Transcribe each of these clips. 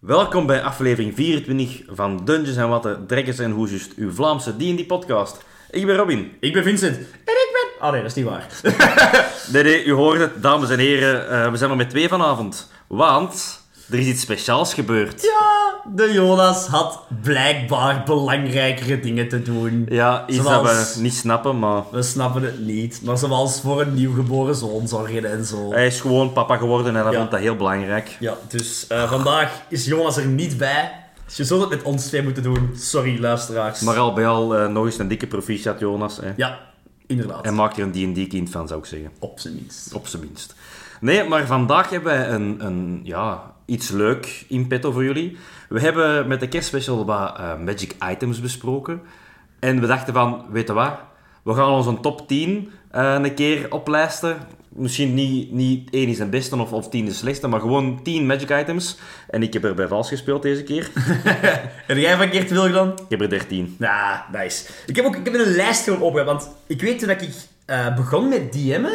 Welkom bij aflevering 24 van Dungeons en Watten, Drekkers en Hoesjes, uw Vlaamse D&D-podcast. Ik ben Robin. Ik ben Vincent. En ik ben... Ah nee, dat is niet waar. Nee, nee, u hoort het, dames en heren, eh, we zijn er met twee vanavond. Want er is iets speciaals gebeurd. Ja, de Jonas had blijkbaar belangrijkere dingen te doen. Ja, iets dat Zoals- we niet snappen, maar... We snappen het niet, maar zoals voor een nieuwgeboren zoon zorgen en zo. Hij is gewoon papa geworden en hij Ja. vond dat heel belangrijk. Ja, dus eh, vandaag is Jonas er niet bij. Dus je zult het met ons twee moeten doen. Sorry, luisteraars. Maar al bij al eh, nog eens een dikke proficiat, Jonas. Hè. Ja, inderdaad. En maak er een D&D-kind van, zou ik zeggen. Op zijn minst. Op zijn minst. Nee, maar vandaag hebben wij een, een, ja, iets leuk in petto voor jullie. We hebben met de kerstspecial wat eh, magic items besproken. En we dachten van, weet je wat? We gaan ons een top 10 eh, een keer oplijsten. Misschien niet, niet één is de beste of, of tien is de slechtste, maar gewoon 10 magic items. En ik heb er bij vals gespeeld deze keer. Heb jij van keer te veel gedaan? Ik heb er 13. Ja, nice. Ik heb, ook, ik heb een lijst gewoon opgehaald, want ik weet toen dat ik eh, begon met DM'en,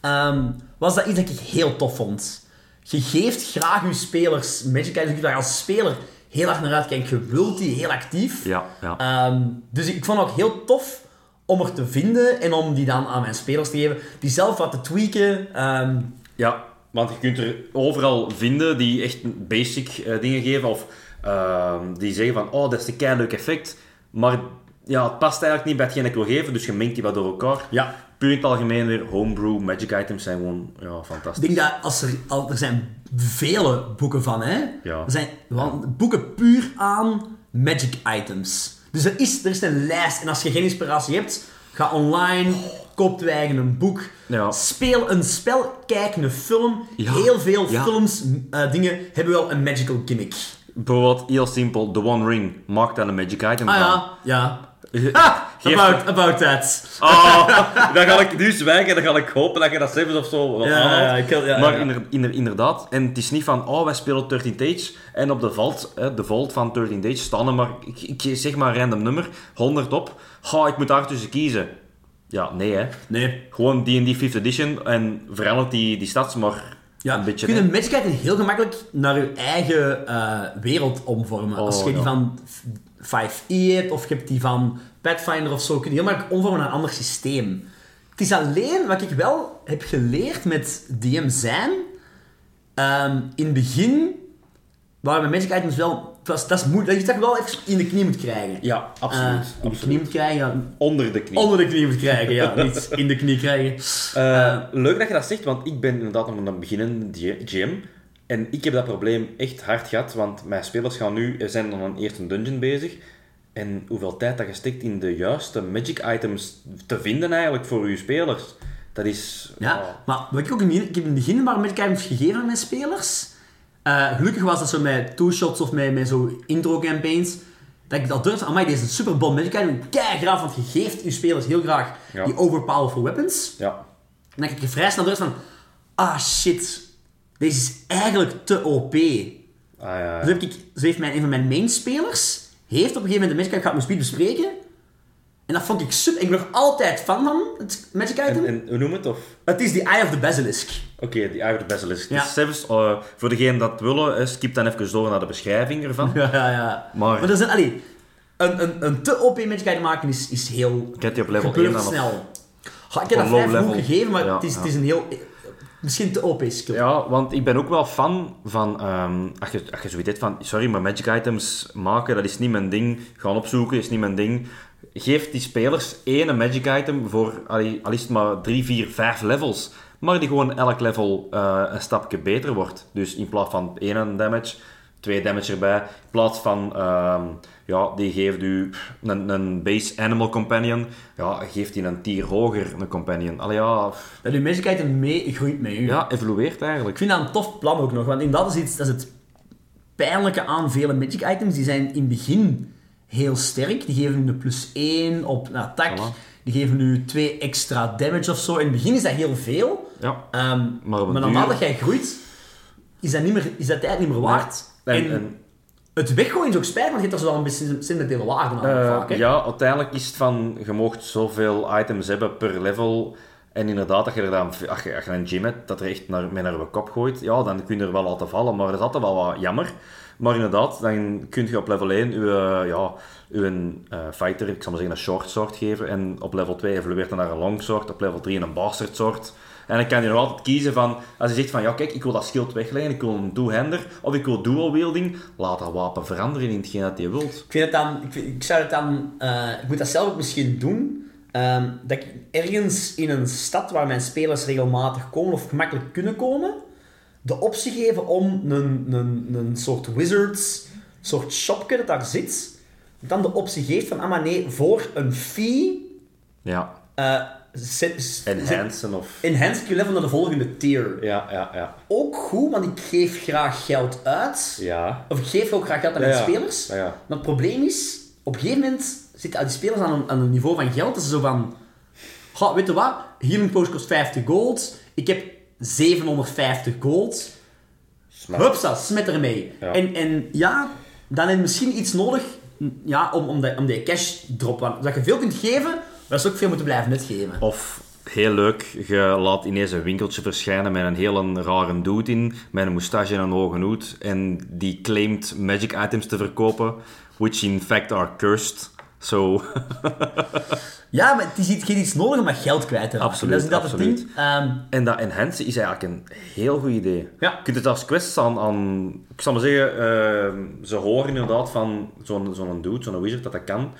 ehm, was dat iets dat ik heel tof vond. Je geeft graag je spelers Magic Items, je daar als speler heel hard naar uitkijkt. Je wilt die heel actief. Ja, ja. Ehm, dus ik vond het ook heel tof om er te vinden en om die dan aan mijn spelers te geven. Die zelf wat te tweaken. ehm, Ja, want je kunt er overal vinden die echt basic eh, dingen geven. Of ehm, die zeggen van, oh, dat is een keihard leuk effect. Maar ja, het past eigenlijk niet bij hetgeen dat ik wil geven. Dus je mengt die wat door elkaar. ja, Puur in het algemeen weer, homebrew, magic items zijn gewoon ja, fantastisch. Ik denk dat als er, al, er zijn vele boeken van, hè? Ja. Er zijn want boeken puur aan magic items. Dus er is, er is een lijst. En als je geen inspiratie hebt, ga online, koop je eigen een boek. Ja. Speel een spel, kijk een film. Ja. Heel veel Ja. films, eh, dingen, hebben wel een magical gimmick. Bijvoorbeeld, heel simpel, The One Ring. Maak daar een magic item Ah van. ja, ja. Je- Ah, Geef- about, about that. Oh, dan ga ik nu zwijgen en dan ga ik hopen dat je dat zelfs of zo wel Ja, aanhaalt. ja, ik kan- ja, maar ja. inder- inder- inderdaad, en het is niet van, oh, wij spelen 13 Tage en op de vault, hè, de vault van 13 Tage staan er maar, ik, ik zeg maar een random nummer, 100 op. Oh, ik moet daar tussen kiezen. Ja, nee hè. Nee. Gewoon D&D 5th edition en verandert die, die stads maar Ja, een beetje. je kunt hè. een magic item heel gemakkelijk naar je eigen eh, wereld omvormen. Als je Oh, ja. die van 5e hebt, of je hebt die van Pathfinder of zo, kun je heel makkelijk omvormen naar een ander systeem. Het is alleen wat ik wel heb geleerd met DM zijn. ehm, in het begin waren mijn magic items wel... Dat is, dat is moeilijk, dat je dat wel even in de knie moet krijgen. Ja, Eh, absoluut. in de absoluut. knie moet krijgen, ja. Onder de knie. onder de knie moet krijgen, ja. Niet in de knie krijgen. Eh, leuk dat je dat zegt, want ik ben inderdaad nog een beginnende GM. En ik heb dat probleem echt hard gehad, want mijn spelers gaan nu, er zijn dan aan eerst een dungeon bezig. En hoeveel tijd dat je steekt in de juiste magic items te vinden eigenlijk voor je spelers, dat is... Ja, oh. maar wat ik ook in, ik heb in het begin maar met items gegeven aan mijn spelers. Eh, gelukkig was dat zo met two-shots of met, met zo intro-campaigns. Dat ik dat durfde, amai, deze is een superbom magic item. Kijk graag, want je geeft je spelers heel graag Ja. die overpowerful weapons. Ja. En dat ik je vrij snel durfde van, ah shit, deze is eigenlijk te OP. Ah, ja, Dus heb ik, zo heeft mijn, een van mijn mainspelers, heeft op een gegeven moment de magic item, gaat mijn speed bespreken. En dat vond ik super, ik ben nog altijd fan van het magic En, item. en hoe noem het? Of... Het is die Eye of the Basilisk. Oké, die Ivory Basilisk. Ja. Dus zelfs, eh, voor degenen dat willen, eh, skip dan even door naar de beschrijving ervan. Ja, ja, ja. Maar- Maar, er zijn, allee, een, een, een te OP magic maken is, is heel... Ik heb die op level gebeurt 1 dan, of- snel. Ha, Op ik heb dat een vijf low goed level. gegeven, maar Ja, het, is, ja. het is een heel... eh, Misschien te OP skill. Ja, want ik ben ook wel fan van, ehm als, je, als je zoiets hebt van, sorry, maar magic items maken, dat is niet mijn ding. Gaan opzoeken is niet mijn ding. Geef die spelers één magic item voor, allee, al is het maar drie, vier, vijf levels. Maar die gewoon elk level eh, een stapje beter wordt. Dus in plaats van één damage, twee damage erbij. In plaats van, ehm, ja, die geeft u een, een base animal companion. Ja, geeft die een tier hoger een companion. Allee, ja, pff, Dat je magic item mee groeit met je. ja, evolueert eigenlijk. Ik vind dat een tof plan ook nog, want inderdaad is iets, dat is het pijnlijke aan vele magic items. Die zijn in het begin heel sterk. Die geven nu een plus 1 op een attack. Voilà. Die geven nu 2 extra damage of zo. In het begin is dat heel veel. Ja. Ehm, Maar maar op een naarmate duur- jij groeit, is dat, niet meer, is dat tijd niet meer waard. En, en, en Het weggooien is ook spijt, want je hebt daar zo wel een beetje sentimentele waarde aan. Eh, vaak, hè? ja, uiteindelijk is het van, je mocht zoveel items hebben per level. En inderdaad, dat je er dan, als je, als je een gym hebt, dat er echt naar, mee naar je kop gooit. Ja, dan kun je er wel laten vallen, maar dat is altijd wel wat jammer. Maar inderdaad, dan kun je op level 1 je, eh, ja, je eh, fighter, ik zal maar zeggen, een short soort geven. En op level 2 evolueert hij naar een long soort, op level 3 een bastard soort. En dan kan je nog altijd kiezen van, als je zegt van, ja kijk, ik wil dat schild wegleggen, ik wil een two-hander, of ik wil dual wielding, laat dat wapen veranderen in hetgeen dat je wilt. Ik vind het dan, ik, vind- ik zou het dan, eh, ik moet dat zelf ook misschien doen, ehm, dat ik ergens in een stad waar mijn spelers regelmatig komen of gemakkelijk kunnen komen, de optie geven om een, een, een soort wizards, soort shopje dat daar zit, dan de optie geeft van, ah maar nee, voor een fee, Ja. eh zet, zet- Enhancen of... enhance je level naar de volgende tier. Ja, ja, ja. Ook goed, want ik geef graag geld uit. Ja. Of ik geef ook graag geld aan Ja, mijn ja. spelers. Ja, ja. Maar het probleem is, op een gegeven moment zitten die spelers aan een, aan een niveau van geld dat ze zo van... "Goh, weet je wat? Healing Potion kost 50 gold. Ik heb 750 gold. Hupsa, smet ermee. Ja. En, en ja, dan heb je misschien iets nodig ja, om, om, de, om die cash drop... Want dat je veel kunt geven, dat ze ook veel moeten blijven uitgeven. Of heel leuk, je laat ineens een winkeltje verschijnen met een hele rare dude in, met een moustache en een hoge hoed. En die claimt magic items te verkopen, which in fact are cursed. So, Ja, maar het is iets, je hebt iets nodig om dat geld kwijt te raken. Absoluut, dat is inderdaad absoluut. het ding. Ehm, en dat enhancen is eigenlijk een heel goed idee. Ja. Je kunt het als quests aan, aan ik zal maar zeggen, eh, ze horen inderdaad van zo'n zo'n dude, zo'n wizard, dat dat kan.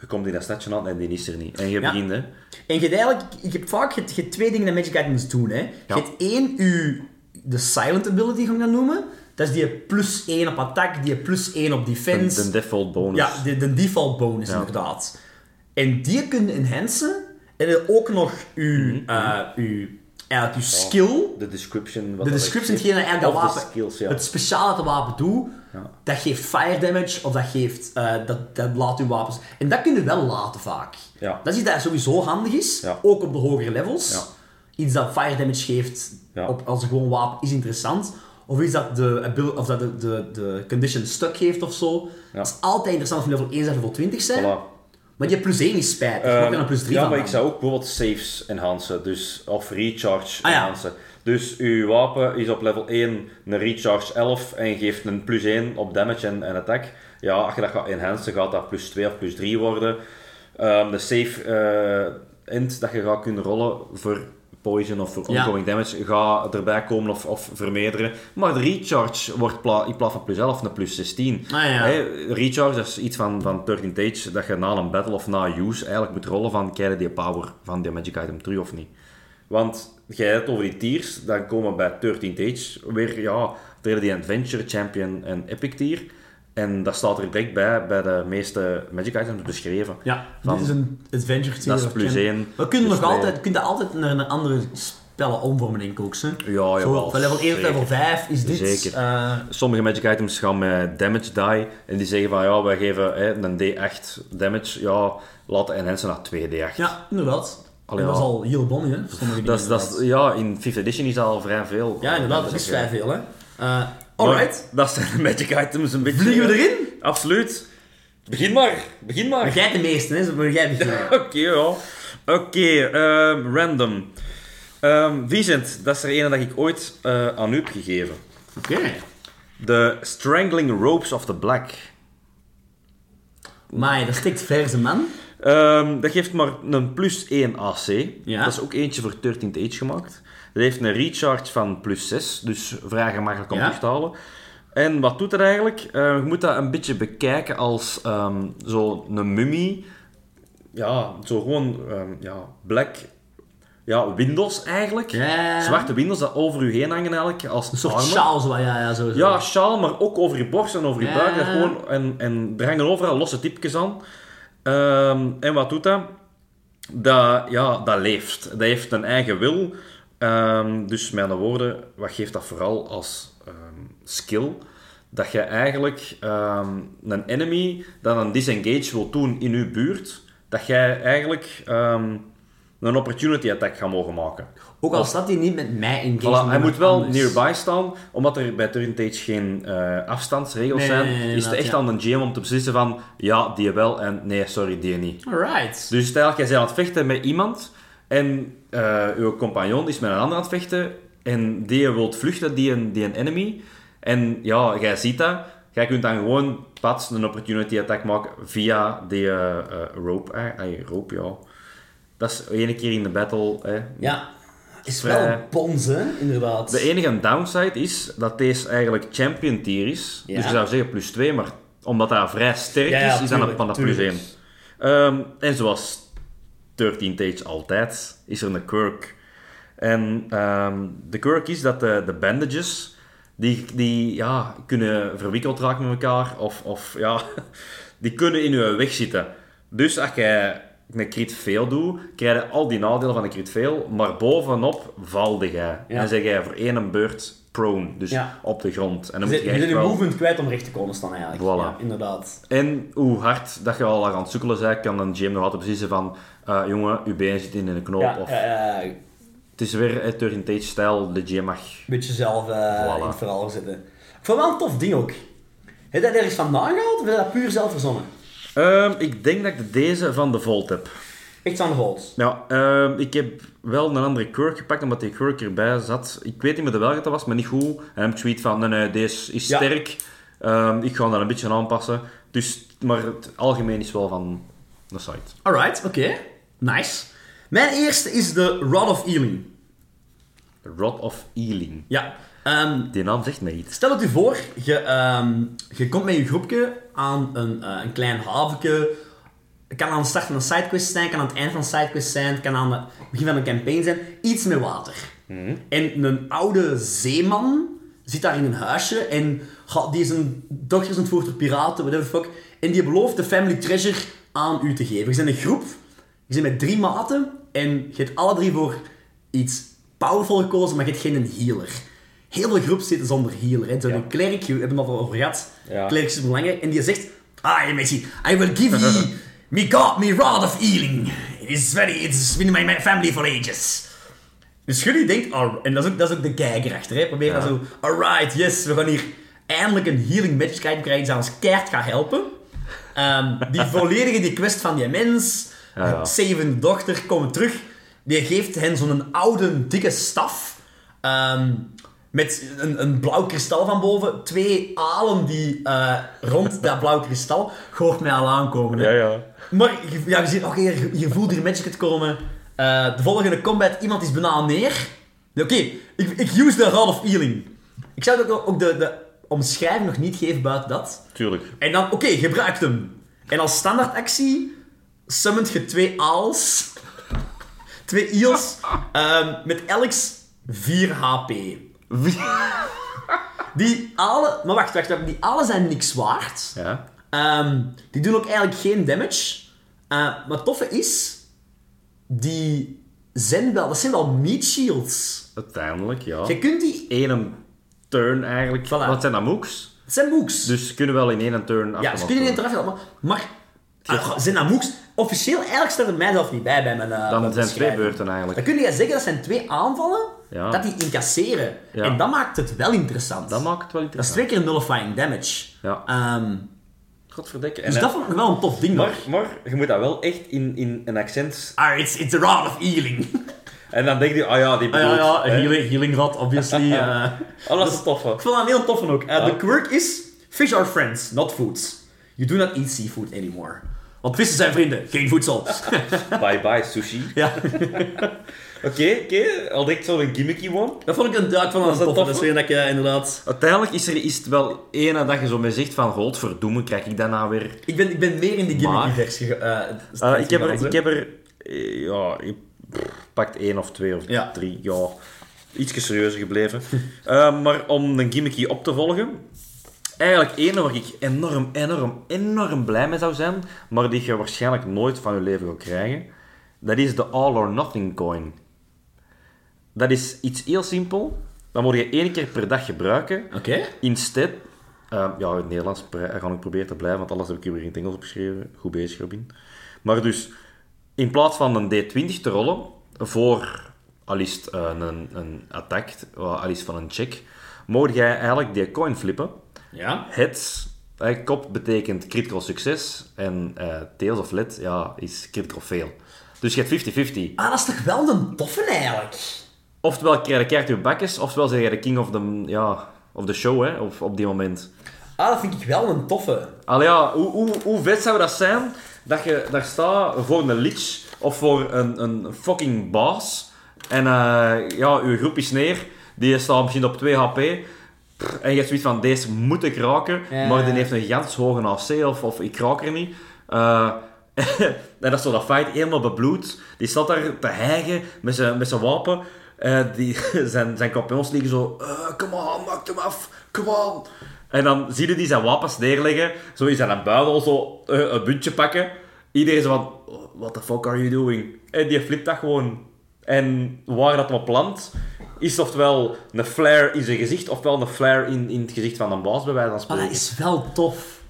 Je komt in dat stadje aan en die is er niet. En je Ja. begint, hè. En je hebt eigenlijk, ik heb vaak je hebt- je hebt twee dingen dat Magic Items doen. Hè. Ja. Je hebt één, je, de silent ability, ga ik dat noemen. Dat is die plus 1 op attack, die plus 1 op defense. De, de default bonus. Ja, de, de default bonus inderdaad. En die kun je enhancen. En dan ook nog je, Mhm, eh, je, eigenlijk je skill. De description. Wat De dat description, geeft. hetgene dat eigenlijk dat Of de wapen, skills, ja. het speciaal dat de wapen doet, dat geeft fire damage of dat geeft, eh, dat, dat laat uw wapens. En dat kun je wel laten vaak. Ja. Dat is iets dat sowieso handig is, Ja. ook op de hogere levels. Ja. Iets dat fire damage geeft Ja. op, als een gewoon wapen is interessant. Of iets dat de, abil- of dat de, de, de condition stuck geeft of zo. Ja. Dat is altijd interessant van level 1 tot level 20 zijn. Voilà. Maar je hebt plus 1 is spijtig. je Ehm, mag er een plus 3 ja, van maar ik maken. zou ook bijvoorbeeld saves enhancen, dus, of recharge Ah, ja. enhancen. Dus uw wapen is op level 1 een recharge 11 en geeft een plus 1 op damage en, en attack. Ja, als je dat gaat enhancen, gaat dat plus 2 of plus 3 worden. Ehm, de save eh end dat je gaat kunnen rollen voor poison of voor Ja. ongoing damage, gaat erbij komen of, of vermeerderen. Maar de recharge wordt pla- in plaats van plus 11 een plus 16. Ah, ja. Hè, recharge, dat is iets van, van 13 Tage, dat je na een battle of na use eigenlijk moet rollen van krijg je die power van die magic item terug of niet. Want jij hebt het over die tiers, dan komen we bij 13 Tage weer, ja, treden die Adventure, Champion en Epic tier. En dat staat er direct bij, bij de meeste magic items beschreven. Ja, Van- dit is een adventure tier. Dat is plus ken- één, We kunnen plus nog twee. altijd, kunnen dat altijd naar een andere spellen omvormen, denk ik ook. Hè? Ja, Zo, jawel, van level 1 tot level zeker. 5 is dit. Zeker. eh, Sommige magic items gaan met damage die. En die zeggen van ja, wij geven hè, een D8 damage. Ja, laat de enhancer naar 2D8. ja, inderdaad. Allee, dat is ja. al heel bonnie, hè? voor sommige Dat is, dingen dat inderdaad. is- ja, in 5th edition is dat al vrij veel. Ja, inderdaad, dat is ook, eh, vrij veel, hè? Eh, maar alright, Dat zijn de magic items een beetje. vliegen we erin? Absoluut. Begin maar. Begin maar. Maar jij de meeste, hè? Zo moet jij beginnen. Oké, ja. Oké, ehm, random. Ehm, Vincent, dat is er ene dat ik ooit eh, aan u heb gegeven. Oké. The Strangling Ropes of the Black. Maar dat stikt verse man. Ehm, dat geeft maar een plus 1 AC. Ja. Dat is ook eentje voor 13th Age gemaakt. Dat heeft een recharge van plus 6, dus vrij gemakkelijk om Ja. terug te halen. En wat doet dat eigenlijk? Eh, je moet dat een beetje bekijken als ehm, zo'n mummie. Ja, zo gewoon ehm, ja, black ja, windows eigenlijk. Ja. Zwarte windows dat over je heen hangen eigenlijk als Een soort armen. sjaal, zo, ja, ja, zo. zo. Ja, sjaal, maar ook over je borst en over je dus Ja. buik. Dat gewoon, en, en er hangen overal losse tipjes aan. Ehm, en wat doet dat? Dat, ja, dat leeft. Dat heeft een eigen wil. Ehm, dus met andere woorden, wat geeft dat vooral als ehm, skill? Dat je eigenlijk ehm, een enemy dat een disengage wil doen in je buurt, dat jij eigenlijk ehm, een opportunity attack gaan mogen maken. Ook al staat hij niet met mij in game. Voilà, hij moet wel nearby staan, omdat er bij Turn Tage geen eh, afstandsregels Nee, zijn. nee, nee, is het inderdaad, echt ja. aan de GM om te beslissen van ja, die wel en nee, sorry, die niet. Alright. Dus stel, jij bent aan het vechten met iemand en eh uw compagnon is met een ander aan het vechten en die wilt vluchten, die een, die een enemy. En ja, jij ziet dat. Jij kunt dan gewoon pats een opportunity attack maken via die eh, eh, rope. Eh, Ai, rope, ja. Dat is ene keer in de battle. Eh. Ja. Is Vrij. wel bons, hè, inderdaad. De enige downside is dat deze eigenlijk champion tier is. Ja. Dus je zou zeggen plus 2, maar omdat hij vrij sterk Ja, ja, is, is dat een tuurlijk, panda plus tuurlijk. 1. en zoals 13 Tage altijd, is er een quirk. En ehm, de quirk is dat de, de bandages, die, die ja, kunnen verwikkeld raken met elkaar, of, of ja, die kunnen in je weg zitten. Dus als jij een crit fail doet, krijg je al die nadelen van een crit fail, maar bovenop valde jij. Ja. En zeg jij voor één beurt prone, dus Ja. op de grond. En dan moet Je zit- je je bent echt je wel- movement kwijt om recht te komen staan eigenlijk. Voilà. Ja, inderdaad. en hoe hard dat je al aan het sukkelen bent, kan een GM nog altijd beslissen van eh, jongen, uw been zit in een knoop. Ja, of, eh, een Het is weer het turn stage stijl, de GM mag. beetje zelf eh, Voilà. in het verhaal zitten. Ik vond het wel een tof ding ook. Heb je dat ergens vandaan gehaald of heb je dat puur zelf verzonnen? Ehm, ik denk dat ik deze van de Volt heb. Echt van de Volt. Ja, ehm, ik heb wel een andere quirk gepakt, omdat die quirk erbij zat. Ik weet niet meer de welke dat was, maar niet goed. En dan heb ik zoiets van, nee, nee, deze is Ja. sterk. Ehm, ik ga dat een beetje aanpassen. Dus, maar het algemeen is wel van de site. Alright, oké. Nice. Mijn eerste is de Rod of Healing. Rod of Ealing. Ja. Ehm, Die naam zegt mij iets. Stel het u voor, je, ehm, je komt met je groepje aan een, eh, een klein havenke. Het kan aan de start van een sidequest zijn, het kan aan het eind van een sidequest zijn, het kan aan het begin van een campaign zijn. Iets met water. Mhm. En een oude zeeman zit daar in een huisje en ga- die is een dochter is ontvoerd door piraten, whatever the fuck. En die belooft de family treasure aan u te geven. Je bent een groep, je bent met drie maten en je hebt alle drie voor iets powerful gekozen, maar je hebt geen healer heel veel groep zitten zonder healer. Hè. Zo'n Ja. klerk, we hebben het al over gehad. Ja. Klerk is belangrijk. En die zegt, ah, Messi, I will give ye me God, me rod of healing. It is very, it's been in my family for ages. Dus jullie denkt, al- en dat is ook, dat is ook de kijker achter, hè. Probeer dan zo, alright, yes, we gaan hier eindelijk een healing magic item krijgen die ons keihard gaat helpen. Ehm, die volledige die quest van die mens, Ja, ja. zeven dochter, komen terug. Die geeft hen zo'n oude, dikke staf. ehm, met een, een blauw kristal van boven. Twee alen die eh, rond dat blauw kristal. Je hoort mij al aankomen. hè. ja. Maar je- ja, je ziet, oké, je, je voelt hier magic het komen. Eh, de volgende combat, iemand is bijna neer. Oké, ik, ik use de Rod of Healing. Ik zou ook, ook de, de omschrijving nog niet geven buiten dat. Tuurlijk. En dan, oké, gebruik hem. En als standaardactie summont je twee aals, twee eels, ehm, met elk 4 HP. Die alen, maar wacht, wacht, wacht, die alen zijn niks waard. Ja. Ehm, die doen ook eigenlijk geen damage. Eh, maar het toffe is, die zijn wel, dat zijn wel meat shields. Uiteindelijk, ja. Je kunt die, Eén turn eigenlijk. Voilà. Wat zijn dat mooks? het zijn mooks. Dus ze kunnen wel in één turn ja, afgemaakt ze kunnen niet worden. eraf helpen, maar, maar ah, zijn dat mooks? Officieel, eigenlijk staat er mij zelf niet bij, bij mijn eh, Dan zijn het mijn twee beschrijving. beurten eigenlijk. Dan kun je zeggen, dat zijn twee aanvallen, Ja. dat die incasseren. Ja. En dat maakt het wel interessant. Dat maakt het wel Dat is interessant. twee keer nullifying damage. Ja. Ehm, Godverdikke. dus En- dat vond ik wel een tof ding, Maar, hoor. maar je moet dat wel echt in, in een accent. Ah, it's, it's the rod of healing. En dan denk je, ah ja, die Ah, bedoelt. ja, ja, hè. healing, healing rod, obviously. eh. Oh, dat is tof. hè. Ik vond dat een heel toffe ook. Eh, De quirk is, fish are friends, not foods. You do not eat seafood anymore. Want vissen zijn vrienden, geen voedsel. Bye bye, sushi. ja, Oké, oké. Al direct zo'n gimmicky one. dat vond ik een, ja, ik vond dat dat een toffe. tof, Dat is weer dat ik eh, inderdaad... Uiteindelijk is, er, is het wel ene dat je zo mee zegt van, godverdomme, krijg ik daarna weer... Ik ben, ik ben meer in de Maar- gimmicky versie eh, Eh, ik, heb gegaan, er, hè. ik heb er... eh, Ja, ik pff, pakt één of twee of Ja. drie. Ja, ietsje serieuzer gebleven. Eh, maar om een gimmicky op te volgen... Eigenlijk ene waar ik enorm, enorm, enorm blij mee zou zijn, maar die je waarschijnlijk nooit van je leven gaat krijgen, dat is de All or Nothing coin. Dat is iets heel simpel. Dat moet je één keer per dag gebruiken. Oké. Instead, ehm, ja, in het eh, Nederlands pro- ga ik proberen te blijven, want alles heb ik hier weer in het Engels opgeschreven. Goed bezig, Robin. Maar dus, in plaats van een D20 te rollen voor alist eh, een, een attack, eh, alist van een check, mocht jij eigenlijk die coin flippen. Ja. Het, eh, kop betekent critical succes en eh, tails of lid ja, is critical fail. Dus je hebt 50-50. Ah, dat is toch wel een toffe eigenlijk? Oftewel krijg je de kaart je bakkes, oftewel zeg je de king of the, ja, of the show hè, op, op die moment. Ah, dat vind ik wel een toffe. Allee, ja, hoe, hoe, hoe vet zou dat zijn dat je daar staat voor een lich of voor een, een fucking baas en eh, ja, je groep is neer, die staat misschien op 2 HP Pff, en je hebt zoiets van deze moet ik raken, Ja. maar die heeft een gigantisch hoge AC of, of ik raak er niet. Eh, en dat is zo dat fight helemaal bebloed. Die staat daar te hijgen met zijn, met zijn wapen. Eh, die, zijn, zijn kampioens liggen zo... eh come on, maak hem af. Come on. En dan zie je die zijn wapens neerleggen. Zo is aan een buidel zo eh, een buntje pakken. Iedereen zo van... "Oh, What the fuck are you doing? En die flipt dat gewoon. En waar dat op plant is oftewel een flare in zijn gezicht, ofwel een flare in, in het gezicht van een baas, bij wijze van Ah, spreken. dat is wel tof.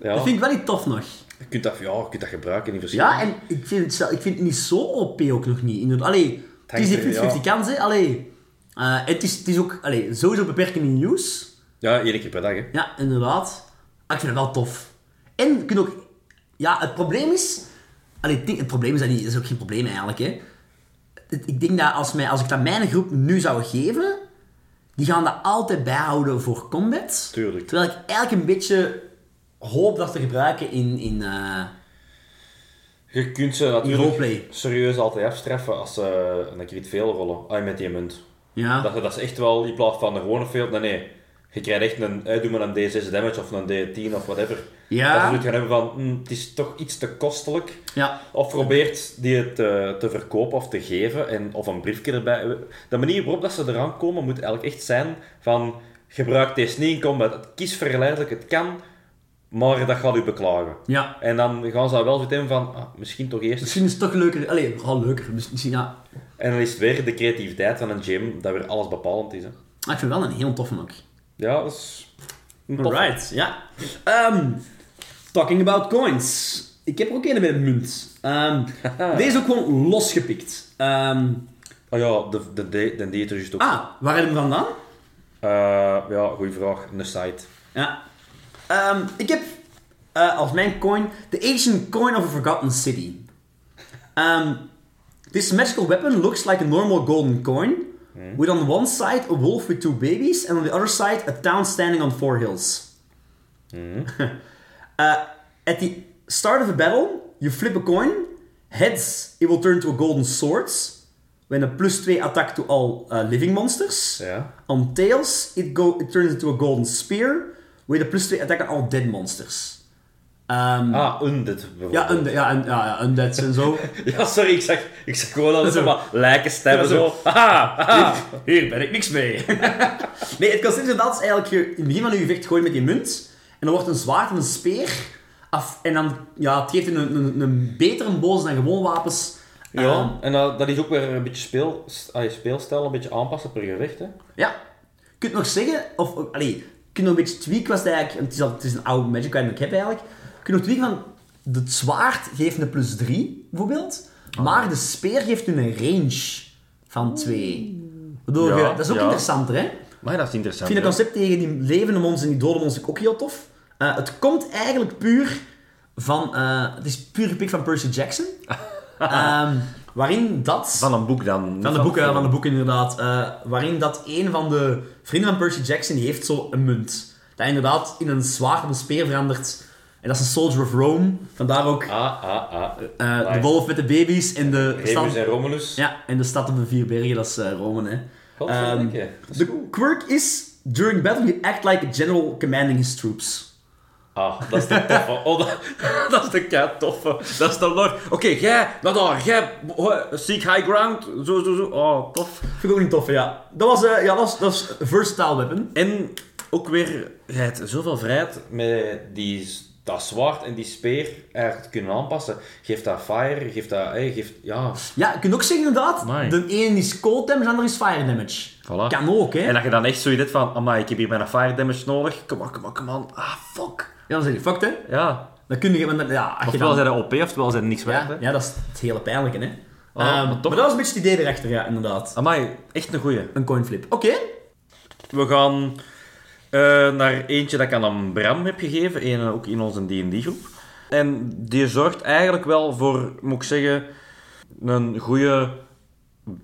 ja. Dat vind ik wel niet tof nog. je, kunt dat, ja, je kunt dat gebruiken in verschillende... Ja, en ik vind het, zelf- ik vind het niet zo OP ook nog niet. Inderdaad. Allee, het is hangt er- 50 kans, hè. Allee, eh, het, is, het is ook allee, sowieso beperkend in use. Ja, één keer per dag, hè. Ja, inderdaad. Ah, ik vind het wel tof. En je kunt ook... Ja, het probleem is... Allee, het, ding- het probleem is dat niet. Dat is ook geen probleem eigenlijk, hè. Het- ik denk dat als, mij, als ik dat mijn groep nu zou geven... Die gaan dat altijd bijhouden voor combat. Tuurlijk. Terwijl ik eigenlijk een beetje hoop dat te gebruiken in... in eh, Je kunt ze natuurlijk In roleplay. serieus altijd afstraffen als ze een crit veel rollen. Ah, met die munt. ja. Dat, dat is echt wel in plaats van een gewone veel. Nee, nee. Je krijgt echt een, eh, doe maar een D6 damage of een D10 of whatever. Ja. Dat je het gaan hebben van, hm, het is toch iets te kostelijk. Ja. Of probeert die het eh, te verkopen of te geven, en, of een briefje erbij. De manier waarop dat ze eraan komen moet eigenlijk echt zijn van, gebruik deze niet in combat. Het is verleidelijk, het kan, maar dat gaat u beklagen. Ja. En dan gaan ze daar wel zitten van, ah, misschien toch eerst. Misschien is het toch leuker... Allee, vooral leuker. Misschien, ja. En dan is het weer de creativiteit van een gym dat weer alles bepalend is. Hè. Ah, ik vind het wel een heel toffe ook. Ja, dat is een tof. Alright, ja. Ehm, talking about coins. Ik heb er ook een met een munt. Ehm, deze is ook gewoon losgepikt. Ehm, Oh ja, de, de, de, de die het er juist ook. ah, waar heb je hem vandaan? Eh, ja, goede vraag. Een site. Ja. Ehm, ik heb eh, als mijn coin The Ancient Coin of a Forgotten City. Ehm, this magical weapon looks like a normal golden coin, with on one side a wolf with two babies, and on the other side a town standing on four hills. Uh, at the start of a battle, you flip a coin. Heads, it will turn to a golden swords. When a plus 2 attack to all uh, living monsters. Ja. On tails, it, go, it turns into a golden spear. With a plus 2 attack on all dead monsters. Ehm, Ah, Undead bijvoorbeeld. ja, unde- ja, un- ja, ja, undeads en zo. Ja, sorry, ik zag, ik zag gewoon al zo maar lijken stemmen Ja, zo. zo. Haha, haha, hier ben ik niks mee. Ah. nee, het concept inderdaad is eigenlijk... Je, in het begin van je gevecht gooi je met die munt. En dan wordt een zwaard en een speer. Af, en dan... Ja, het geeft een, een, een- een betere boos dan gewoon wapens. Ehm, Ja, en dat, dat is ook weer een beetje speel, ah, je speelstijl een beetje aanpassen per gewicht. Hè. Ja. Je kunt nog zeggen, of, of allee, je kunt nog een beetje tweaken, was het eigenlijk, want het is, al, het is een oude Magic Item dat ik heb eigenlijk. Je kunt nog tweaken van, het zwaard geeft een plus 3, bijvoorbeeld, Ah. maar de speer geeft een range van 2. Waardoor Ja, je- dat is ook ja. interessanter, hè? Maar dat is interessant. Ik vind ja. het concept tegen die levende monsters en die dode monsters ook heel tof. Eh, het komt eigenlijk puur van, eh, het is puur gepikt van Percy Jackson. Ehm, waarin dat... Van een boek dan. niet Van de boeken, van de boeken inderdaad. Eh, waarin dat een van de vrienden van Percy Jackson, die heeft zo een munt. Dat inderdaad in een zwaard of een speer verandert. En dat is een Soldier of Rome. Vandaar ook Ah, ah, ah. eh, Nice. de wolf met de baby's en de Remus stad... en Romulus. Ja, en de stad op de vier bergen, dat is eh, Rome, hè. Ehm, Godverdikke. Dat is de goed. quirk is, during battle you act like a general commanding his troops. Ah, dat is de toffe. Oh, dat, dat is de kei toffe. Dat is de lore. Oké, jij, naar daar, jij, ho- seek high ground. Zo, zo, zo. Oh, tof. Vind ik ook niet tof, ja. Dat was, eh, ja, dat was, dat was een versatile weapon. En ook weer, jij hebt zoveel vrijheid met die, z- dat zwaard en die speer eigenlijk te kunnen aanpassen. Geeft dat fire, geeft dat, hey, geeft, ja. Ja, je kunt ook zeggen inderdaad, Amai. de ene is cold damage, de andere is fire damage. Voilà. Kan ook, hè. En dat je dan echt zoiets hebt van, amai, ik heb hier bijna fire damage nodig. Kom on, kom on, kom on. Ah, fuck. Ja, dan zeg je fucked, hè. Ja. Dan kun je... want dan- Ja, als je Ofwel dan- zijn dat OP, ofwel zijn dat niks waard. ja, hè. ja, dat is het hele pijnlijke, hè. Ah, Ehm, maar maar, toch- dat was een beetje het idee erachter, ja, inderdaad. Amai, echt een goeie. Een coinflip. Oké. We gaan eh, naar eentje dat ik aan een Bram heb gegeven, een, eh, ook in onze D&D-groep. En die zorgt eigenlijk wel voor, moet ik zeggen, een goede...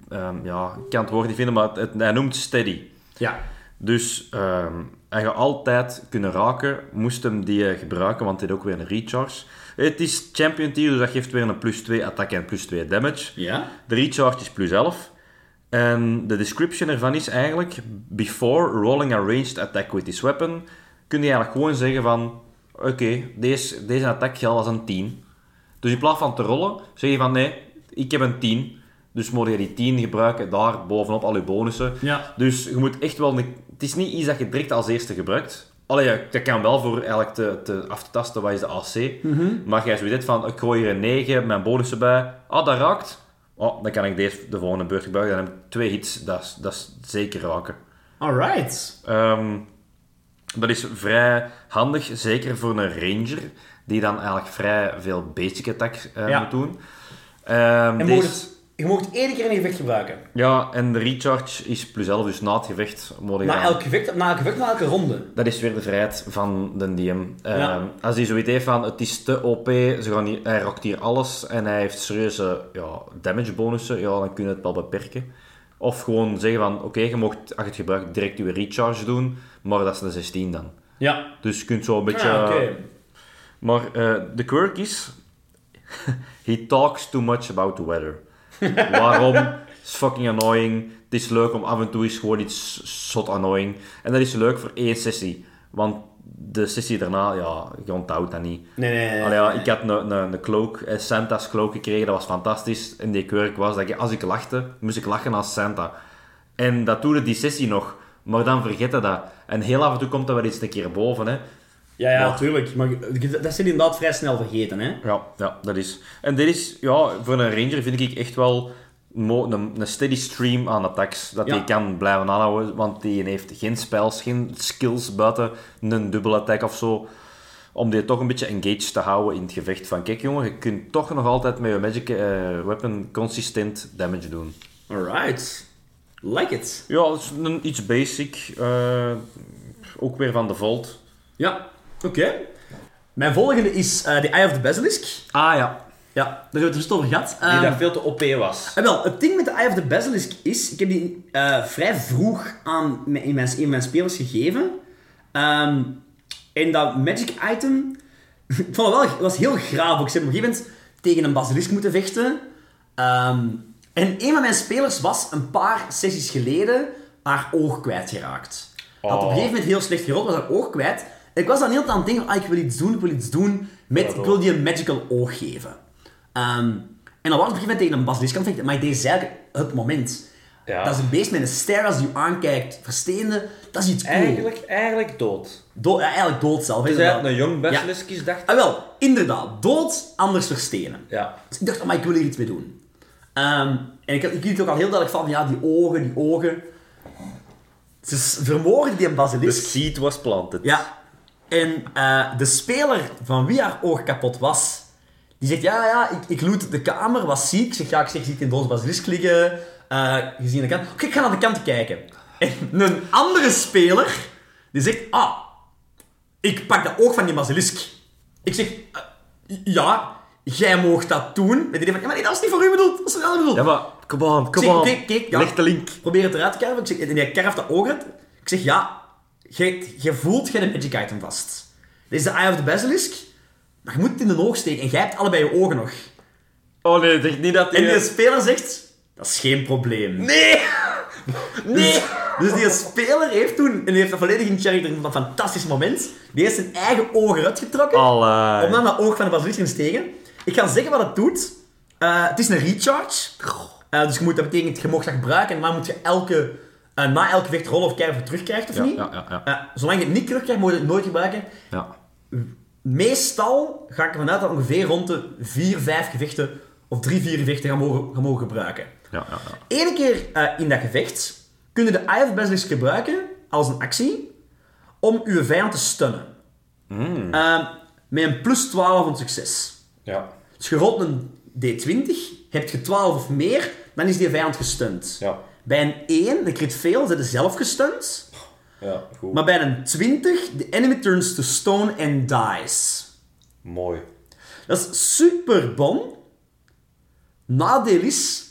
ehm, ja, ik kan het woord niet vinden, maar het, hij noemt steady. Ja. Dus ehm, hij gaat altijd kunnen raken, moest hem die eh, gebruiken, want hij heeft ook weer een recharge. Het is champion tier, dus dat geeft weer een plus 2 attack en plus 2 damage. Ja? De recharge is plus 11. En de description ervan is eigenlijk... Before rolling a ranged attack with this weapon... Kun je eigenlijk gewoon zeggen van... Oké, deze, deze attack geldt als een 10. Dus in plaats van te rollen, zeg je van... Nee, ik heb een 10. Dus moet je die 10 gebruiken daar bovenop al je bonussen. Ja. Dus je moet echt wel... een- het is niet iets dat je direct als eerste gebruikt. Allee, ja, dat kan wel voor eigenlijk te, te af te tasten wat is de AC. Mhm. Maar jij zoiets hebt van, ik gooi hier een 9, mijn bonussen bij. Ah, dat raakt. Oh, dan kan ik deze de volgende beurt gebruiken. Dan heb ik twee hits, dat is, dat is zeker raken. Alright. Ehm, dat is vrij handig, zeker voor een ranger. Die dan eigenlijk vrij veel basic attacks eh, Ja. moet doen. Ehm, En deze- mocht het- je mag het één keer in een gevecht gebruiken. Ja, en de recharge is plus 11, dus na het gevecht moet je Na dan- elk gevecht, na elk gevecht, na elke ronde. Dat is weer de vrijheid van de DM. Ehm, Ja. Als hij zoiets heeft van, het is te OP, ze gaan hier, hij rakt hier alles en hij heeft serieuze ja, damage bonussen, ja, dan kun je het wel beperken. Of gewoon zeggen van, oké, je mocht, als je het gebruikt, direct je recharge doen, maar dat is een 16 dan. Ja. Dus je kunt zo een beetje... Ah, Ja, oké. Maar eh, de quirk is... He talks too much about the weather. Waarom? It's fucking annoying. Het is leuk om af en toe eens gewoon iets zot annoying. En dat is leuk voor één sessie. Want de sessie daarna, ja, je onthoudt dat niet. Nee, nee, nee. Allee, ja, ik had een, een, een cloak, eh, Santa's cloak gekregen, dat was fantastisch. En die quirk was dat ik, als ik lachte, moest ik lachen als Santa. En dat doet die sessie nog, maar dan vergeten dat. En heel af en toe komt dat wel eens een keer boven, hè. Ja, ja, Maar- tuurlijk. Maar je- dat zijn inderdaad vrij snel vergeten, hè? Ja, ja, dat is. En dit is, ja, voor een ranger vind ik echt wel mo- een, een steady stream aan attacks. Dat Ja. hij kan blijven aanhouden, want die heeft geen spells, geen skills buiten een dubbele attack of zo. Om die toch een beetje engaged te houden in het gevecht. Van kijk jongen, je kunt toch nog altijd met je magic eh, weapon consistent damage doen. Alright. Like it. Ja, dat is een, iets basic. eh, ook weer van de Volt. Ja, oké. Mijn volgende is eh The Eye of the Basilisk. Ah ja, Ja, daar hebben we het dus over gehad. die Ehm, dat veel te OP was. Ah, wel, het ding met de Eye of the Basilisk is, ik heb die eh, vrij vroeg aan mijn, in mijn, een van mijn spelers gegeven. Ehm, en dat magic item, ik vond het wel, het was heel graaf. ook. Ik heb op een gegeven moment tegen een basilisk moeten vechten. Ehm, en een van mijn spelers was een paar sessies geleden haar oog kwijtgeraakt. Had op een Oh. gegeven moment heel slecht gerold, was haar oog kwijt. En ik was dan heel de tijd aan het denken, ah, ik wil iets doen, ik wil iets doen. Met, ik wil die een magical oog geven. Ehm, en dan was ik op een gegeven moment tegen een basilisk aan het vechten, maar ik deed eigenlijk het moment. Ja. Dat is een beest met een ster als die je aankijkt, versteende. Dat is iets cool. eigenlijk dood. Do- ja, eigenlijk dood zelf. Dus inderdaad. hij een jong Ja. basilisk is, dacht Ah, wel, inderdaad. Dood, anders verstenen. Ja. Dus ik dacht, maar ik wil hier iets mee doen. Ehm, en ik, ik liet ook al heel duidelijk van, ja, die ogen, die ogen. Ze s- vermoorden die een The basilisk. seed Dus was planted. Ja. En eh, de speler van wie haar oog kapot was, die zegt, ja, ja, ik, ik loot de kamer, was ziek. Ik zeg, ja, ik zeg, ziek in doos basilisk liggen. Eh gezien de kant. Oké, ik ga naar de kant kijken. En een andere speler, die zegt, ah, ik pak dat oog van die basilisk. Ik zeg, eh, ja, jij moogt dat doen. En die denkt van, ja, maar nee, dat is niet voor u bedoeld, dat is voor een ander bedoeld. Ja, maar, come on, come Ik on. zeg, kijk, kijk, ja. Leg de link. Probeer het eruit te karven. Ik zeg, en jij karft dat oog uit. Ik zeg, ja, jij jij voelt geen magic item vast. Dit is de Eye of the Basilisk, maar je moet het in de oog steken. En jij hebt allebei je ogen nog. Oh nee, zeg niet dat En dus- die... die speler zegt, dat is geen probleem. Nee! Nee! Dus die speler heeft toen, en die heeft dat volledig in character, ik vond dat een fantastisch moment. Die heeft zijn eigen ogen uitgetrokken. Allee. Om dan dat oog van de basilisk in te steken. Ik ga zeggen wat het doet. Eh, het is een recharge. Eh, dus je moet, dat betekent, je mag dat gebruiken en dan moet je elke, eh, na elke gewicht rollen of kijken of je terugkrijgt of Ja, niet. ja, ja, ja. Eh, zolang je het niet terugkrijgt, moet je het nooit gebruiken. Ja. Meestal ga ik ervan uit dat ongeveer rond de 4, 5 gewichten of 3, 4 gewichten gaan mogen, gaan mogen gebruiken. Ja, ja, ja. Eén keer eh, in dat gevecht kun je de Eye of Basilisk gebruiken als een actie om uw vijand te stunnen. Ehm, met een plus 12 van succes. Ja. Dus je rolt een D20, heb je 12 of meer, dan is die vijand gestunt. Ja. Bij een 1, de crit fail, zijn ze zelf gestunt. Ja, goed. Maar bij een 20, the enemy turns to stone and dies. Mooi. Dat is super bon. Nadeel is...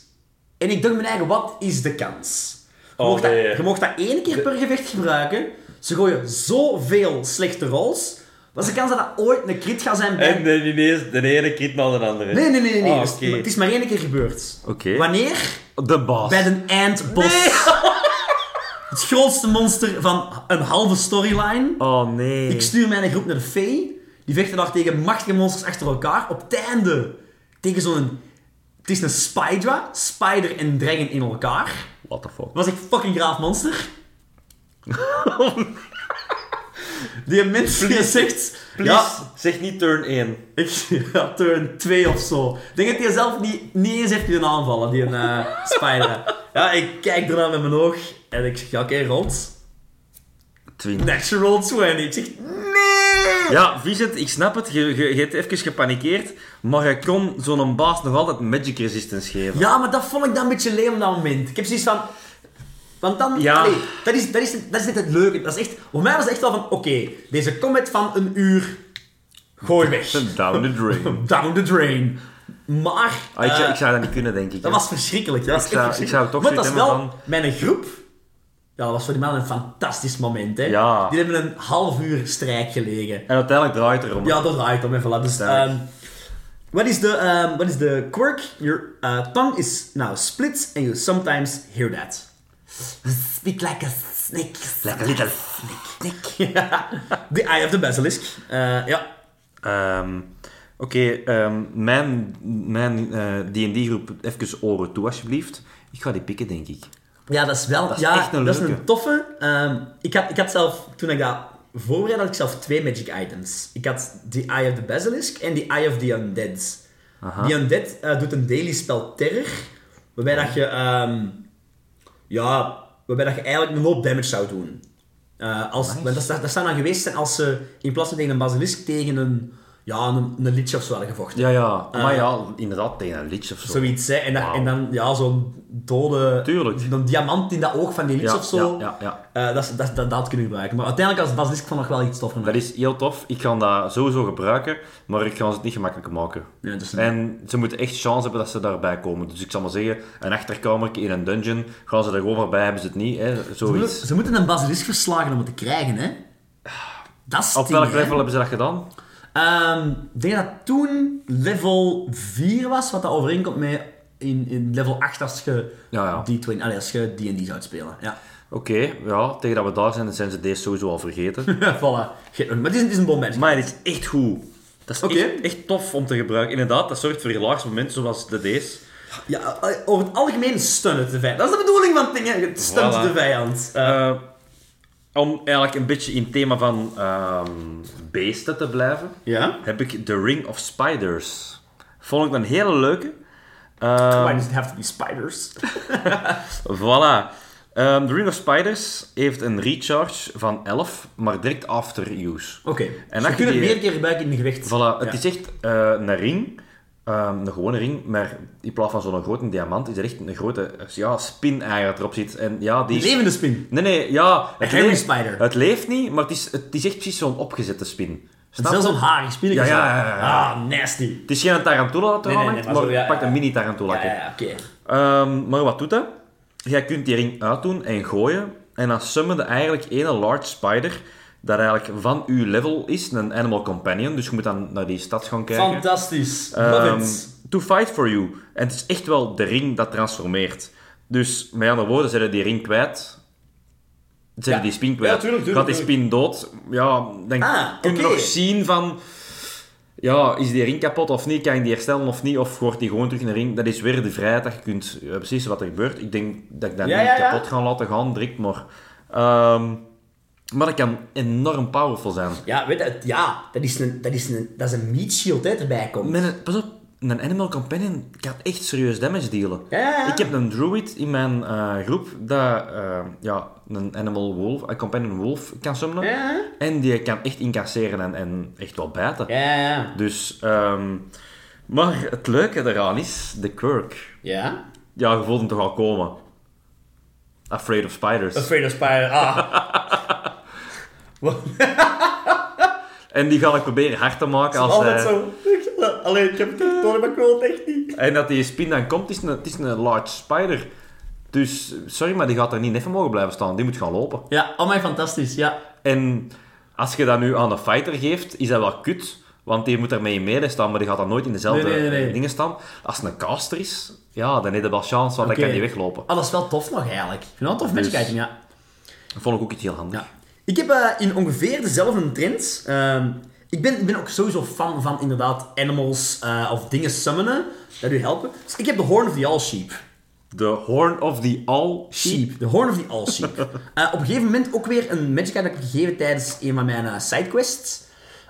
En ik dacht mijn eigen, wat is de kans? Je Oh, mocht, dat, nee. je mocht dat één keer per gevecht gebruiken. Ze gooien zoveel slechte rolls. Wat is de kans dat dat ooit een crit gaat zijn bij... En de, ineens de ene kit naar de andere. Nee, nee, nee. nee. Ah, Dus oké. Het is maar één keer gebeurd. Oké. Wanneer? De baas. Bij de eindboss. Het grootste monster van een halve storyline. Oh nee. Ik stuur mijn groep naar de Fee. Die vechten daar tegen machtige monsters achter elkaar. Op het einde tegen zo'n... Het is een Spydra. Spider en Dragon in elkaar. What the fuck. Dat was echt fucking graaf monster. Die mensen die zegt... Ja, Please, zeg niet turn 1. ik ja, turn 2 of zo. Ik denk dat hij zelf niet, niet eens heeft kunnen aanvallen, die een eh, spider. Ja, ik kijk ernaar met mijn oog en ik zeg, ja, oké, rond. 20. Natural 20. Ik zeg, nee! Ja, Vincent, ik snap het. Je, je, je hebt even gepanikeerd. Maar je kon zo'n baas nog altijd magic resistance geven. Ja, maar dat vond ik dan een beetje leem op dat moment. Ik heb zoiets van... Want dan... Ja. allee, dat, is, dat, is, dat is net het leuke. Dat is echt... Voor mij was het echt wel van, oké, deze combat van een uur... Gooi weg. Down the drain. Down the drain. Maar... Ah, ik, zou- eh, ik zou dat niet kunnen, denk ik. Dat hè. was verschrikkelijk. Dat was echt zou- verschrikkelijk. ik zou toch Maar dat zoiets was wel hebben mijn groep. Ja, dat was voor die mannen een fantastisch moment. Hè. Ja. Die hebben een half uur strijk gelegen. En uiteindelijk draait het erom. Ja, dat draait om even laten Sterk. staan. ehm, Wat is de ehm, wat is de quirk? Your uh, tongue is now split and you sometimes hear that. Speak like a snake. Like a little snake. the eye of the basilisk. Eh, ja. Ehm, Oké, ehm, mijn, mijn eh, D&D-groep, even oren toe alsjeblieft. Ik ga die pikken, denk ik. Ja, dat is wel is ja, echt een dat is leuke. een toffe. Ehm, ik, had, ik had zelf, toen ik dat voorbereid, had ik zelf twee magic items. Ik had The Eye of the Basilisk en The Eye of the Undead. The Undead eh, doet een daily spel terror, waarbij dat je, ehm, ja, waarbij dat je eigenlijk een hoop damage zou doen. Eh, als, want dat, dat, dat zou dan geweest zijn als ze in plaats van tegen een basilisk tegen een, ja, een, een lich of zo hadden gevochten. Ja, ja. Ah, maar ja, inderdaad, tegen een liedje of zo. Eh, Zoiets, hè. En, dat- Wauw. en dan ja, zo'n dode... Tuurlijk. Een diamant in dat oog van die lich Ja, of zo. ja, ja, Eh, dat, is- dat, dat, dat kunnen we gebruiken. Maar uiteindelijk als basilisk vond ik nog wel iets toffer. Dat is heel tof. Ik ga dat sowieso gebruiken, maar ik ga ze het niet gemakkelijk maken. Nee, dat is- En ze moeten echt chance hebben dat ze daarbij komen. Dus ik zal maar zeggen, een achterkamer in een dungeon, gaan ze er gewoon voorbij, hebben ze het niet. Hè? ze, moeten, Zoiets. ze moeten een basilisk verslagen om het te krijgen, hè. Dat is Op tien, welk hè. level hebben ze dat gedaan? Ehm, ik denk dat toen level 4 was, wat dat overeenkomt met in, in level 8 als je Ja, ja. D20, allee, als je D&D zou spelen. Ja. Oké, ja, tegen dat we daar zijn, zijn ze deze sowieso al vergeten. voilà. Geen- Maar het is, het is een bon match. maar het is echt goed. Dat is Oké. echt, echt tof om te gebruiken. Inderdaad, dat zorgt voor relaxed momenten zoals de deze. Ja, over het algemeen stunnen de vijand. Dat is de bedoeling van dingen. Het stunt Voilà. de vijand. Eh, Eh, om eigenlijk een beetje in het thema van ehm, beesten te blijven, ja? heb ik The Ring of Spiders. Vond ik een hele leuke. Why Ehm does it have to be spiders? voilà. Ehm, The Ring of Spiders heeft een recharge van 11, maar direct after use. Oké. En je dat kunt het je die- meer keer gebruiken in een gewicht. Voilà, het Oh. Ja. is echt eh, een ring. Ehm, een gewone ring, maar in plaats van zo'n grote diamant is er echt een grote eh, ja, spin eigenlijk erop zit. En ja, die Die is- levende spin. Nee, nee, ja. Het hairy leeft- spider. Het leeft niet, maar het is, het is echt precies zo'n opgezette spin. Snap Zelfs je? een haar, spin Ja, ja, ja, ja, ja. Ah, nasty. Het is geen tarantula dat Nee, nee, nee, hangt, maar maar zo, ja, het pakt ja. een mini tarantula. Ja, ja, ja, oké. Ehm, maar wat doet dat? Jij kunt die ring uitdoen en gooien. En dan summende eigenlijk één large spider. Dat eigenlijk van uw level is. Een animal companion. Dus je moet dan naar die stad gaan kijken. Fantastisch. Love Ehm, it. to fight for you. En het is echt wel de ring dat transformeert. Dus met andere woorden, zijn ze die ring kwijt. Zijn Ja. die spin kwijt. Ja, tuurlijk, tuurlijk, Gaat die spin dood? Ja, dan Ah, kun je oké. nog zien van... Ja, is die ring kapot of niet? Kan je die herstellen of niet? Of wordt die gewoon terug in de ring? Dat is weer de vrijheid dat je kunt... eh, precies wat er gebeurt. Ik denk dat ik dat Ja, niet ja, ja. kapot ga laten gaan, direct maar... Ehm, maar dat kan enorm powerful zijn. Ja, weet je, het- ja, dat is een, dat is een, dat is een meat shield hè, dat erbij komt. Met een, pas op, een Animal Companion kan echt serieus damage dealen. Ja, ja, ja. Ik heb een druid in mijn eh, groep dat eh, ja, een Animal Wolf, een Companion Wolf kan summenen. Ja. En die kan echt incasseren en, en echt wel bijten. Ja, ja. Dus, ehm, maar het leuke eraan is de quirk. Ja? Ja, je voelt hem toch al komen. Afraid of spiders. Afraid of Spider. Ah. en die ga ik proberen hard te maken als hij... Altijd zo. Alleen, ik heb het niet door, maar ik wil het echt niet. En dat die spin dan komt, is een, het is een large spider. Dus, sorry, maar die gaat er niet even mogen blijven staan. Die moet gaan lopen. Ja, oh mijn fantastisch, ja. En als je dat nu aan een fighter geeft, is dat wel kut. Want die moet er mee in mede staan, maar die gaat dan nooit in dezelfde Nee, nee, nee, nee. dingen staan. Als het een caster is, ja, dan heb je wel chance, want Oké. dan kan die weglopen. Ah, dat is wel tof nog eigenlijk. Ik vind dat tof, magic Dus- item, ja. Dat vond ik ook iets heel handig. Ik heb eh, in ongeveer dezelfde trends. ehm, ik ben, ik ben ook sowieso fan van inderdaad animals eh, of dingen summonen. Dat u helpen. Dus ik heb de Horn of the All Sheep. De Horn of the All Sheep. Sheep. De Horn of the All Sheep. Eh, op een gegeven moment ook weer een magic item heb ik gegeven tijdens een van mijn eh, sidequests.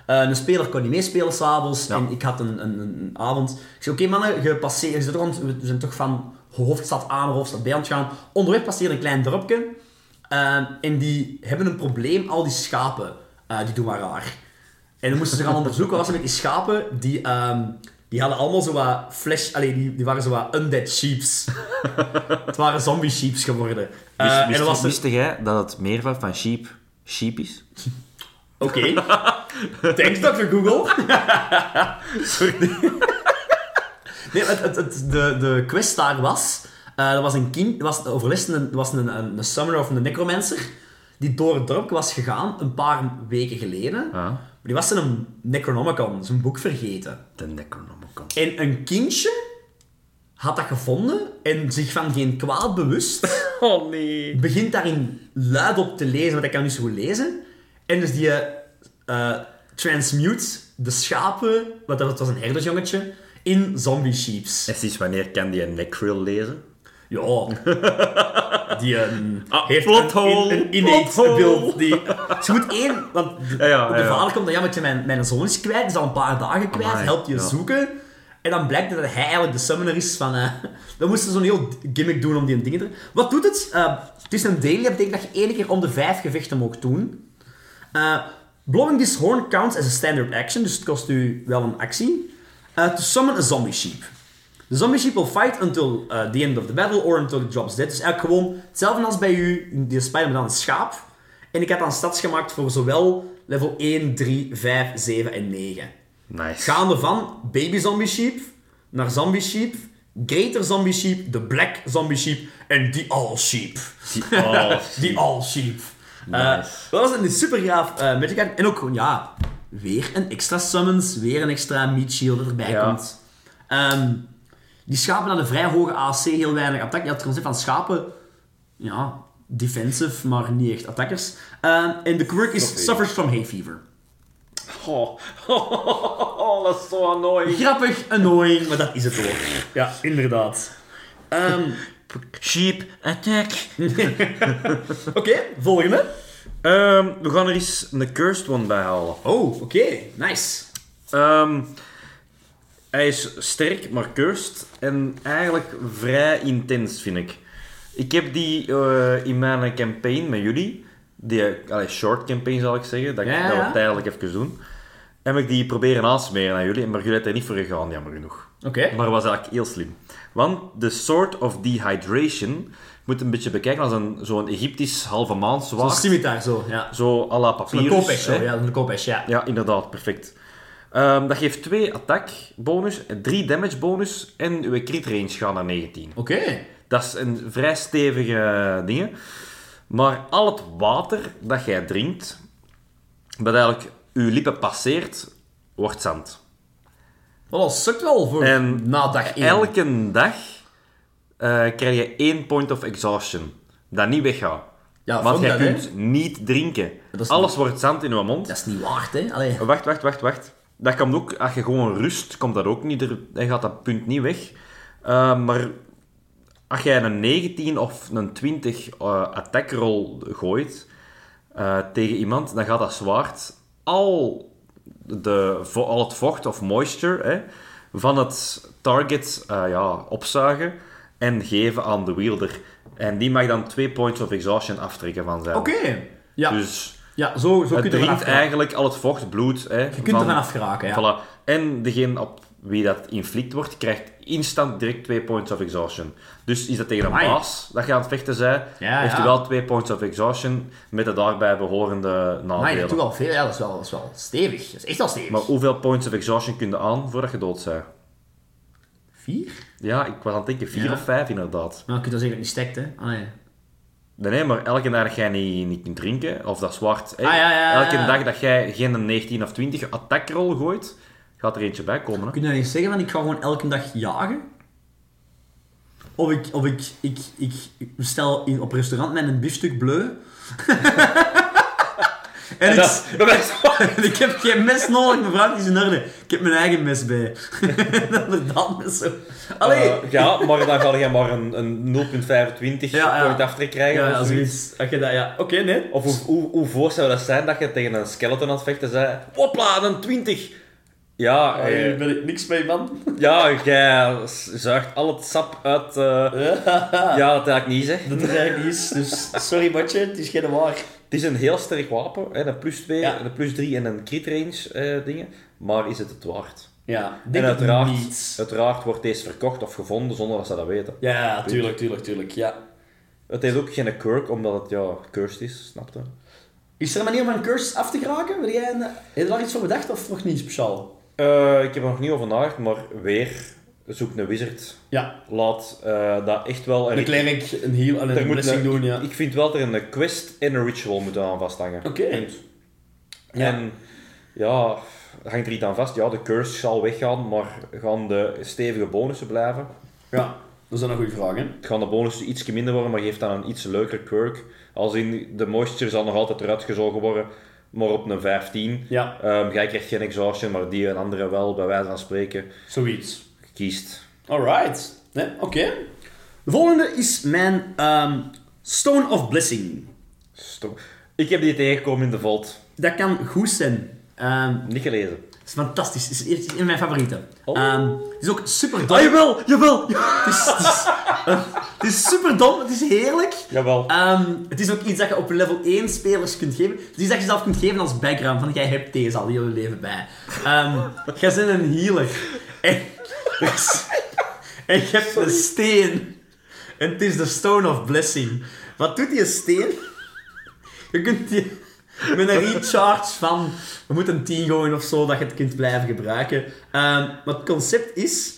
Eh, een speler kon niet meespelen s'avonds en ik had een, een, een avond. Ik zei, oké mannen, je passeert, je zit rond, we zijn toch van hoofdstad A naar hoofdstad B aan het gaan. Onderweg passeert een klein dorpje Ehm, en die hebben een probleem, al die schapen, eh, die doen maar raar. En dan moesten ze gaan onderzoeken wat was er met die schapen. Die, ehm, die hadden allemaal zo wat flash... Allee, die, die waren zo wat undead sheeps. het waren zombie sheeps geworden. Eh, Wist, en wist, dan was er... wist jij dat het meervoud van sheep sheep is? Oké. Thanks, Dr. Google. Nee, het, het, het- de, de quest daar was... eh er was een kind, er was een overleden, er was een, een, een summoner of een necromancer... Die door het dorp was gegaan, een paar weken geleden. Ah. Maar die was zijn Necronomicon, zijn boek vergeten. De Necronomicon. En een kindje had dat gevonden en zich van geen kwaad bewust Oh nee. begint daarin luid op te lezen, want ik kan niet zo goed lezen. En dus die eh, transmute de schapen, want dat was een herdersjongetje, in zombie sheeps. En sinds wanneer kan die een necril lezen? Ja. Die ehm, Ah, heeft plot een, in- hole, een innate plot hole. ability. Die, ze moet één, want de, Ja, ja, de ja, ja. vader komt dan, ja, maar ik ben mijn, mijn zoon is kwijt, is al een paar dagen kwijt, Amai, helpt je ja. zoeken. En dan blijkt dat hij eigenlijk de summoner is van... eh dan moesten ze zo'n heel gimmick doen om die dingen te... Wat doet het? Eh, het is een daily, dat betekent dat je één keer om de vijf gevechten mag doen. Eh, blowing this horn counts as a standard action, dus het kost u wel een actie. Eh, to summon a zombie sheep. The zombie sheep will fight until eh, the end of the battle or until it drops dead. Dus eigenlijk gewoon hetzelfde als bij u, die spider maar dan een schaap. En ik had dan stads gemaakt voor zowel level 1, 3, 5, 7 en 9. Nice. Gaande van baby zombie sheep naar zombie sheep, greater zombie sheep, de black zombie sheep en the all sheep. Oh, Die all sheep. Eh, Nice. dat was een super gaaf eh, magic item. En ook gewoon, ja, weer een extra summons, weer een extra meat shield dat erbij Ja. komt. Ehm, die schapen hadden vrij hoge AC, heel weinig attack. Je had het concept van schapen, ja, defensive, maar niet echt attackers. Ehm, en de quirk is suffers from hay fever. Oh, dat is zo annoying. Grappig, annoying, maar dat is het ook. Ja, inderdaad. Ehm, Sheep attack. oké, volgende. Ehm, we gaan er eens een cursed one bij halen. Oh, oké, nice. Ehm, hij is sterk, maar cursed. En eigenlijk vrij intens, vind ik. Ik heb die eh, in mijn campaign met jullie. Die eh, allee, short campaign, zal ik zeggen. Dat, ik- Ja, ja, dat ja. we tijdelijk even doen. Heb ik die proberen aansmeren aan jullie. Maar jullie hebben er niet voor gegaan, jammer genoeg. Oké. Maar was eigenlijk heel slim. Want de Sword of Dehydration moet een beetje bekijken als een, zo'n Egyptisch halve maand Een zwaard. scimitar zo, ja. Zo à la Een papyrus. kopesh, hè. zo, ja, een kopesh, ja. Ja, inderdaad, perfect. Ehm, dat geeft 2 attack bonus, 3 damage bonus en uw crit range gaat naar 19. Oké. Dat is een vrij stevige eh, dingen. Maar al het water dat jij drinkt, dat eigenlijk uw lippen passeert, wordt zand. Wel, dat sukt wel voor En na dag 1. Elke dag eh, krijg je 1 point of exhaustion. Dat niet weggaat. Ja, Want vond jij dat, hè? kunt niet drinken. is Alles wordt zand in je mond. Dat is niet waard, hè? Allee. Wacht, wacht, wacht, wacht. Dat komt ook, als je gewoon rust, komt dat ook niet. Er, dan gaat dat punt niet weg. Eh, maar als jij een 19 of een 20 eh attackroll gooit eh, tegen iemand, dan gaat dat zwaard al, de, vo- al het vocht of moisture hè, van het target eh, ja, opzuigen en geven aan de wielder. En die mag dan twee points of exhaustion aftrekken van zijn. Oké. Ja. Dus ja, zo, zo kun het je ervan drinkt afgeraken. eigenlijk al het vocht, bloed. Hè, Je kunt ervan afgeraken, ja. Voilà. En degene op wie dat inflict wordt, krijgt instant direct 2 points of exhaustion. Dus is dat tegen een Amai. baas dat je aan het vechten bent, Ja, heeft ja. hij wel 2 points of exhaustion met de daarbij behorende Maar je nadelen. doet al veel, Ah, ja, dat is wel, dat is wel stevig. Dat is echt wel stevig. Maar hoeveel points of exhaustion kun je aan voordat je dood bent? Vier? Ja, ik was aan het denken 4 Ja. of 5 inderdaad. Nou, kun je dan zeggen dat het niet stekt, hè? Ah, nee. Nee, nee, maar elke dag dat jij niet, niet kunt drinken, of dat zwart, hè, Ah, ja, ja, ja, elke ja. dag dat jij geen 19 of 20 attackroll gooit, gaat er eentje bij komen. Hè? Kun je dan niet zeggen van ik ga gewoon elke dag jagen? Of ik, of ik, ik, ik, ik bestel in, op restaurant met een biefstuk bleu. en ik, Dat, dat is en ik heb geen mes nodig, mevrouw, het is in orde. Ik heb mijn eigen mes bij. Inderdaad, mes zo. Allee! Eh, ja, maar dan ga je maar een, een 0.25 Ja, ja. point aftrek krijgen. ja, of ja, zoiets. zoiets. Als je dat, ja. Oké, nee. Of hoe, hoe, hoe voor zou dat zijn dat je tegen een skeleton aan het vechten bent? Hopla, een 20! Ja, eh, ben ik niks mee, man. ja, jij zuigt al het sap uit... eh, ja, dat eigenlijk niet, zeg. Dat is eigenlijk niets, dus sorry, matje, het is geen waar. Het is een heel sterk wapen, hè, een plus 2, Ja. een plus 3 en een crit range eh, dingen. Maar is het het waard? Ja, en uiteraard, niets. uiteraard wordt deze verkocht of gevonden zonder dat ze dat weten. Ja, tuurlijk, tuurlijk, tuurlijk, ja. Het heeft ook geen kurk, omdat het ja, cursed is, snap je? Is er een manier om een cursus af te geraken? Wil jij een... Heb je daar iets voor bedacht of nog niet speciaal? Eh, ik heb er nog niet over nagedacht, maar weer zoek een wizard. Ja, Laat eh, dat echt wel... en ik- klerk, een heal en er moet een- Ik vind wel dat er een quest en een ritual moeten aan vasthangen. Oké. Punt. Ja. En ja, hangt er iets aan vast? Ja, de curse zal weggaan, maar gaan de stevige bonussen blijven? Ja, dat is dan een goede vraag, hè? gaan de bonussen iets minder worden, maar geeft dan een iets leuker quirk. Als in de moisture zal nog altijd eruit gezogen worden, maar op een 15. Ja, Ehm, jij krijgt geen exhaustion, maar die en andere wel, bij wijze van spreken. zoiets. Je kiest. Alright. Nee, oké. De volgende is mijn ehm, Stone of Blessing. Stom. Ik heb die tegengekomen in de Vault. Dat kan goed zijn. Ehm, Niet gelezen. het is fantastisch. Het is een van mijn favorieten. Oh. Ehm, het is ook super dom. Ah, jawel, jawel! Het is, het, is, het is super dom, het is heerlijk. Jawel. Ehm, het is ook iets dat je op level 1 spelers kunt geven. Het is iets dat je zelf kunt geven als background. Van, jij hebt deze al heel je leven bij. Ehm, jij bent een healer. En, en je hebt een steen. En het is de Stone of Blessing. Wat doet die steen? Je kunt die... Met een recharge van... We moeten 10 gooien of zo, dat je het kunt blijven gebruiken. Ehm, maar het concept is...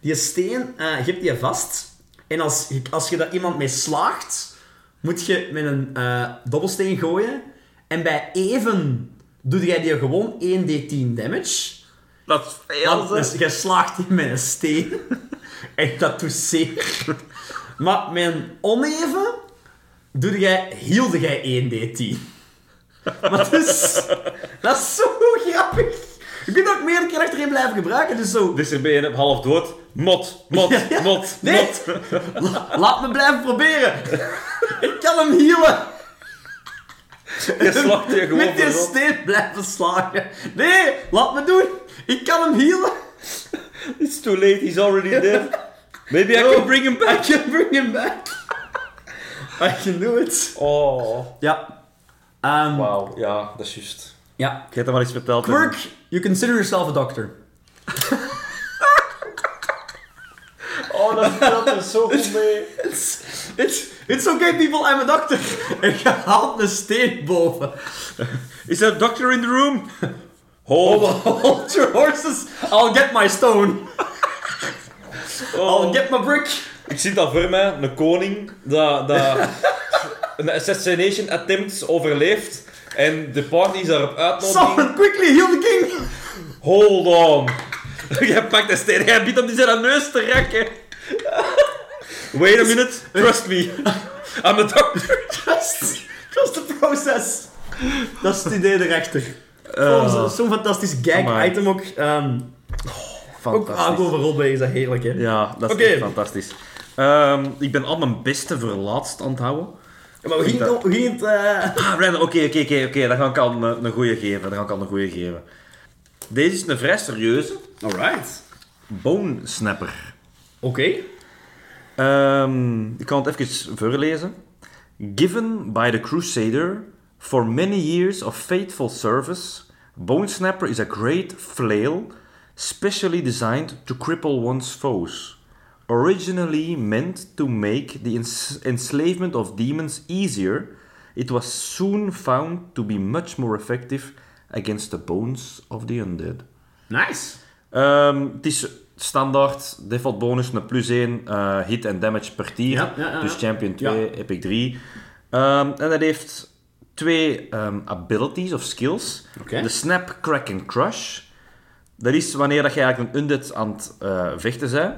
Die steen, eh, je hebt die vast. En als, je- als je daar iemand mee slaagt, moet je met een eh, dobbelsteen gooien. En bij even doe jij die gewoon 1d10 damage. Dat is Want dus, jij slaagt die met een steen. en dat doet zeer. maar met een oneven doe jij, hielde jij 1d10. Maar dus, dat is zo grappig. Je kunt ook meerdere keer achterin blijven gebruiken, dus zo... Dus er ben je half dood. Mot, mot, Ja. mot, Nee. mot. La- laat me blijven proberen. Ik kan hem healen. Je slacht je gewoon Met die verrot. steen blijven slagen. Nee, laat me doen. Ik kan hem healen. It's too late, he's already dead. Maybe I can bring him I back. can bring him back. I can do it. Oh, Ja. Ehm, wauw. Ja, dat is juist. Ja. Ik heb hem al eens verteld. Quirk, you consider yourself a doctor. Oh, dat speelt er zo goed mee. It's, it's, it's okay people, I'm a doctor. En je haalt een steen boven. Is there a doctor in the room? Hold Hold your horses, I'll get my stone. I'll oh. get my brick. Ik zie dat voor mij, een koning, dat, dat een assassination attempt overleeft. En de party is daarop Oh, uitnodiging. Someone quickly heal the king! Hold on. Jij pakt de steen, jij biedt hem die zijn neus te rakken. Wait a minute, trust me. I'm a doctor. Trust, trust the process. Dat is het idee erachter. Gewoon zo- Zo'n fantastisch amai. gag-item ook. ehm ook Fantastisch. aankomen rond is dat heerlijk, hè? Ja, dat is Oké. echt fantastisch. Ehm, ik ben al mijn beste voor laatst aan het houden. Maar we gingen het... we gingen het, eh, Ah, Brandon, oké, oké, oké, oké. Dan ga ik al een, een goeie geven. Dan ga ik al een goeie geven. Deze is een vrij serieuze. Alright. Bone Snapper. Oké. Ehm, ik kan het even voorlezen. Given by the Crusader for many years of faithful service, Bonesnapper is a great flail specially designed to cripple one's foes. Originally meant to make the ens- enslavement of demons easier, it was soon found to be much more effective against the bones of the undead. Nice. Ehm, het is standaard, default bonus, een plus 1 eh, hit en damage per tier. Ja, ja, ja, ja. Dus champion 2, epic 3. Ehm, en dat heeft twee ehm, abilities of skills. Oké. De snap, crack en crush. Dat is wanneer dat je eigenlijk een undead aan het eh, vechten bent.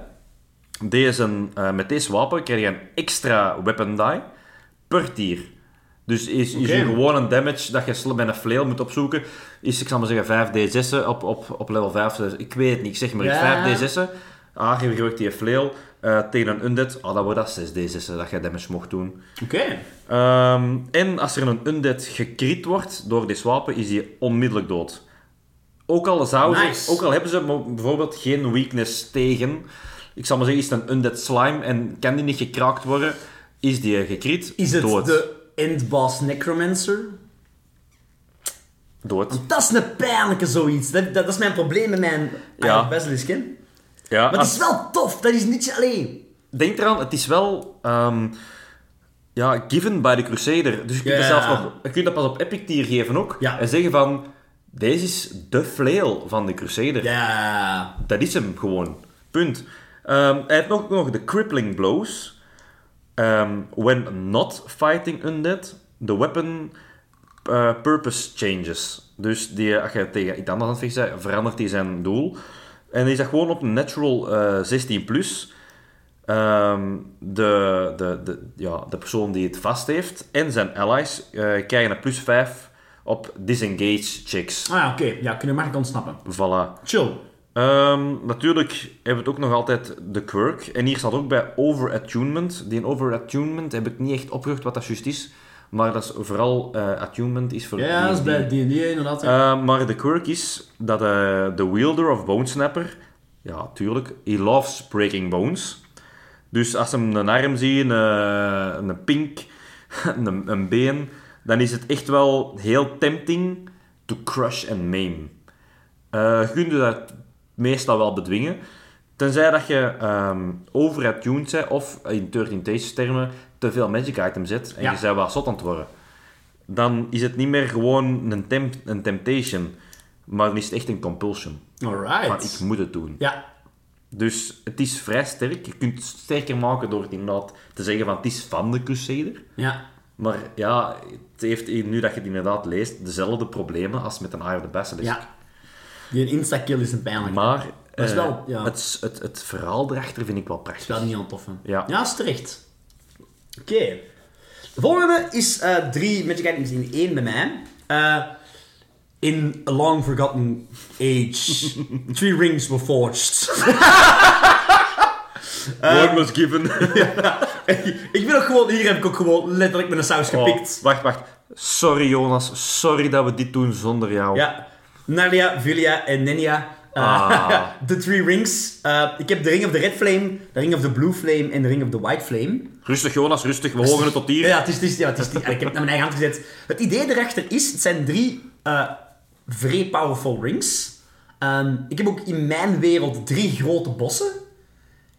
Deze, eh, met deze wapen krijg je een extra weapon die per tier. Dus is, is Oké. je gewoon een damage dat je sl- met een flail moet opzoeken, is, ik zal maar zeggen, 5d6'en op, op, op level 5. Dus Ik weet het niet, ik zeg maar Ja. iets. 5d6'en. Ah, je gebruikt die flail eh, tegen een undead. Ah, dan wordt dat 6d6'en dat je damage mocht doen. Oké. Ehm, en als er een undead gekrit wordt door dit wapen, is die onmiddellijk dood. Ook al, zou ze- Nice. ook al hebben ze mo- bijvoorbeeld geen weakness tegen, ik zal maar zeggen, is het een undead slime en kan die niet gekraakt worden, is die gekrit, Is het dood. de endboss necromancer? Dood. Dat is een pijnlijke zoiets. Dat, dat, dat is mijn probleem met mijn Ja. ja. basilisk. hè. Ja, Maar als- het is wel tof. Dat is niet alleen. Denk eraan, het is wel... ehm, ja, given by the Crusader. Dus je kunt, Ja. dat, zelf nog, je kunt dat pas op Epic Tier geven ook. Ja. En zeggen van... Deze is de flail van de Crusader. Ja. Dat is hem gewoon. Punt. Ehm, hij heeft nog, nog de crippling blows. Ehm, when not fighting undead, the weapon eh, purpose changes. Dus die, als je tegen iets anders aan het vechten bent, verandert hij zijn doel. En die is dat gewoon op natural eh, 16 plus. Ehm, de, de, de, ja, de persoon die het vast heeft en zijn allies eh, krijgen een plus 5 op disengage checks. Ah ja, oké. Ja, kunnen we makkelijk ontsnappen. Voilà. Chill. Ehm, natuurlijk hebben we het ook nog altijd de quirk. En hier staat ook bij overattunement. Die overattunement heb ik niet echt opgerucht wat dat juist is. Maar dat is vooral eh, attunement is voor Ja, dat is D&D. bij D&D inderdaad. ja. Eh, maar de quirk is dat eh, de wielder of bonesnapper, ja, tuurlijk, he loves breaking bones. Dus als hem een arm zien, een, een pink, een, een been, dan is het echt wel heel tempting to crush and maim. Eh, je kunt dat meestal wel bedwingen. Tenzij dat je ehm overattuned bent of in 13 Tastes termen te veel magic items zet en Ja. je bent wel zot aan het worden. Dan is het niet meer gewoon een, temp- een temptation, maar dan is het echt een compulsion. Van, Alright. ik moet het doen. Ja. Dus het is vrij sterk. Je kunt het sterker maken door het inderdaad te zeggen van het is van de Crusader. Ja. Maar ja, het heeft nu dat je het inderdaad leest, dezelfde problemen als met een Eye of the Basilisk. Ja. Dus Die instakill is een pijnlijk. Maar Dat is eh, wel- ja. het, het, het verhaal erachter vind ik wel Ik prachtig. wil die niet aantoffen. Ja. ja is terecht. Oké. De volgende is eh, drie Magic Items in één bij mij. Eh, in a long forgotten age, three rings were forged. Word was given. ik ben ook gewoon, hier heb ik ook gewoon letterlijk met een saus gepikt. Oh, wacht, wacht. Sorry Jonas, sorry dat we dit doen zonder jou. Ja. Nadia, Julia en Nenia. Eh, Ah. de three rings. Eh, ik heb de ring of the red flame, de ring of the blue flame en de ring of the white flame. Rustig Jonas, rustig. We horen het tot hier. Ja, het is, het is, ja, het is, die- ik heb het naar mijn eigen hand gezet. Het idee erachter is, het zijn drie eh vrij powerful rings. Ehm, ik heb ook in mijn wereld drie grote bossen.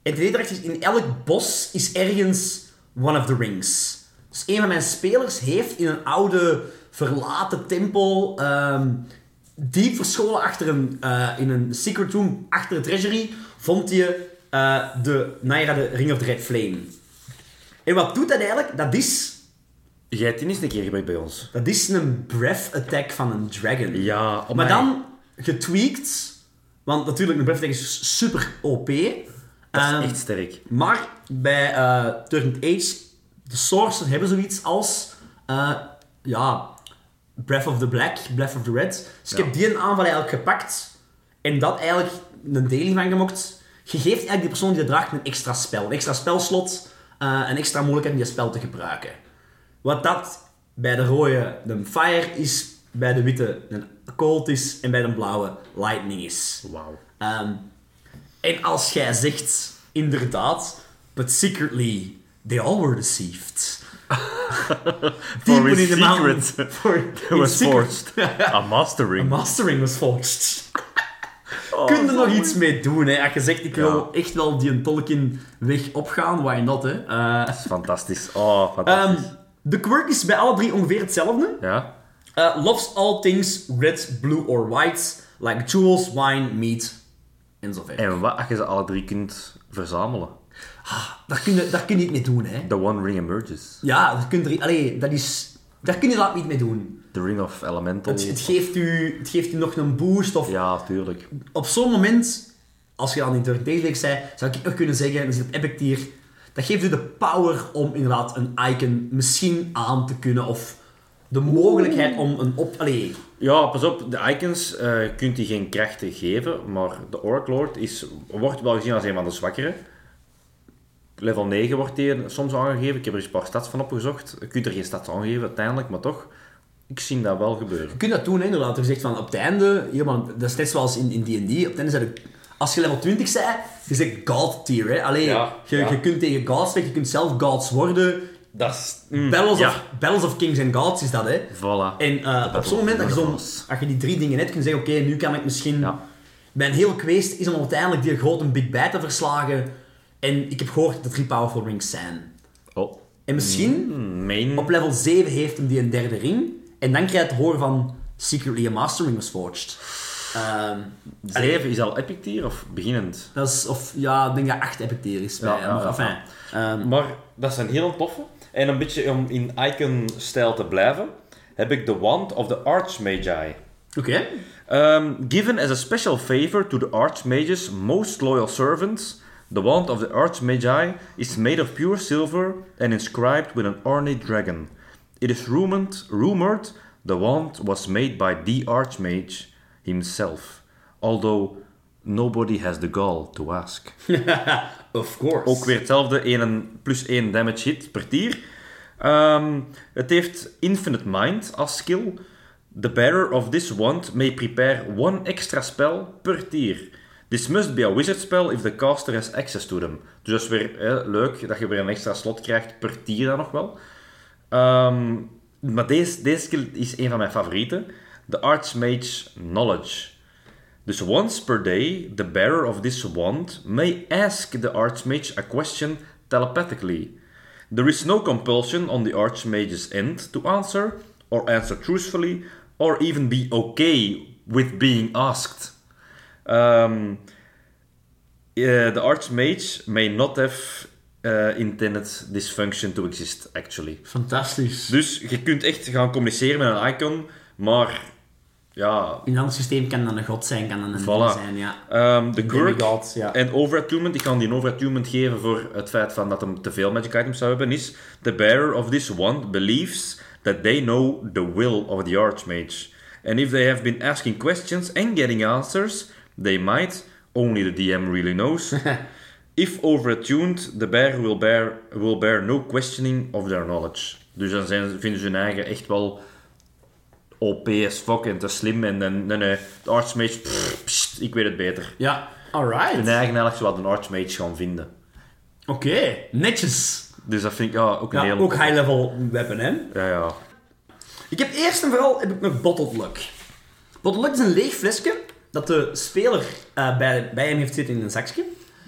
En het idee erachter is, in elk bos is ergens one of the rings. Dus een van mijn spelers heeft in een oude verlaten tempel, ehm, diep verscholen achter een, eh, in een secret room achter de treasury, vond je eh, de, Naira de Ring of the Red Flame. En wat doet dat eigenlijk? Dat is, Jij hebt die eens een keer gebruikt bij ons. dat is een breath attack van een dragon. Ja, oh maar my. dan getweakt. Want natuurlijk, een breath attack is super OP. Dat is Ehm, echt sterk. Maar bij eh Turn Age, de sources hebben zoiets als... eh, ja, Breath of the Black, Breath of the Red. Dus ik Ja. heb die een aanval eigenlijk gepakt. En dat eigenlijk een daily van gemokt. Je geeft eigenlijk die persoon die dat draagt een extra spel. Een extra spelslot. eh, een extra mogelijkheid om je spel te gebruiken. Wat dat bij de rode een fire is. Bij de witte een cold is. En bij de blauwe lightning is. Wauw. Ehm, En als jij zegt, inderdaad, but secretly, they all were deceived. Deep his within the mountain. secret. For, It was his secret. forged. A mastering. Mastering was forged. Oh, Kun je er nog iets mee doen, hè? Als je zegt, ik wil echt wel die Tolkien-weg opgaan, why not, hè? Eh, Fantastisch. Oh, ehm, fantastisch. de quirk is bij alle drie ongeveer hetzelfde. ja. Uh, loves all things red, blue or white, like jewels, wine, meat, en zo verder. En wat als je ze alle drie kunt verzamelen? Daar kun, je, daar kun je niet mee doen, hè. The One Ring Emerges. Ja, daar kun je, allee, dat is, daar kun je dat niet mee doen. The Ring of Elemental. Het, het, geeft u, het geeft u nog een boost, of Ja, tuurlijk. op zo'n moment, als je dan niet door degelijk zei, zou ik ook kunnen zeggen, en dan zit op Epic Tier, dat geeft u de power om inderdaad een icon misschien aan te kunnen, of de mogelijkheid om een op... Allee, Ja, pas op, de icons eh kunt die geen krachten geven, maar de Oracle Lord is, wordt wel gezien als een van de zwakkere. Level 9 wordt die soms aangegeven. Ik heb er eens een paar stats van opgezocht. Je kunt er geen stats aan geven uiteindelijk, maar toch, ik zie dat wel gebeuren. Je kunt dat doen, hè, inderdaad. Er zegt van op het einde, helemaal, dat is net zoals in in D&D, op het einde zei ik, als je level 20 zei, je zegt god tier. Hè. Allee, Ja, je, ja. je kunt tegen gods vechten, je kunt zelf gods worden. Dat is... mm, Battles, ja. of, battles of kings and gods is dat, hè. Voilà. En eh, op Battle zo'n moment dat of je, zo'n- Gods. als je die drie dingen net kunt zeggen, oké, nu kan ik misschien... Ja. Mijn hele quest is om uiteindelijk die grote Big Bad te verslagen. En ik heb gehoord dat er drie powerful rings zijn. Oh. En misschien... Main. Op level 7 heeft hem die een derde ring. En dan krijg je het horen van Secretly a Master Ring was forged. Ehm, allee, 7 is al epic tier of beginnend? dat is, of ja, ik denk dat 8 epic tier is. Bij, Ja, ja, maar ja. enfin, ehm, Maar dat zijn heel toffe. En een beetje om in icon-stijl te blijven, heb ik de Wand of the Archmagi. Oké. Um, given as a special favor to the Archmage's most loyal servants, the wand of the Archmagi is made of pure silver and inscribed with an ornate dragon. It is rumored, rumored the wand was made by the Archmage himself, although nobody has the gall to ask. Of course. Ook weer hetzelfde, 1 plus 1 damage hit per tier. Ehm, het heeft Infinite Mind als skill. The bearer of this wand may prepare one extra spell per tier. This must be a wizard spell if the caster has access to them. Dus dat is weer hè, leuk dat je weer een extra slot krijgt per tier dan nog wel. Ehm, maar deze, deze skill is een van mijn favorieten. The Archmage Knowledge. Dus once per day, the bearer of this wand may ask the Archmage a question telepathically. There is no compulsion on the Archmage's end to answer, or answer truthfully, or even be okay with being asked. Um, uh, the Archmage may not have uh, intended this function to exist, actually. Fantastisch. Dus je kunt echt gaan communiceren met een icon, maar ja, In een ander systeem kan dan een god zijn, kan dan een Voilà. ding zijn, ja. Ehm, de Gurk Demigod, ja. en Overattunement, ik kan die een Overattunement geven voor het feit van dat hem te veel magic items zou hebben, is The bearer of this wand believes that they know the will of the Archmage. And if they have been asking questions and getting answers, they might, only the DM really knows. if overattuned, the bearer will bear, will bear no questioning of their knowledge. Dus dan zijn, vinden ze hun eigen echt wel OP as fuck en te slim en dan, nee, nee, de Archmage, pff, pst, ik weet het beter. Ja, Hun alright. eigen eigenlijk zo wat een Archmage gaan vinden. Oké, netjes. Dus dat vind ik ja, ook een Ja, heel... ook high-level weapon, hè. Ja, ja. Ik heb eerst en vooral heb ik nog Bottled Luck. Bottled Luck is een leeg flesje dat de speler eh, bij, bij hem heeft zitten in een zakje.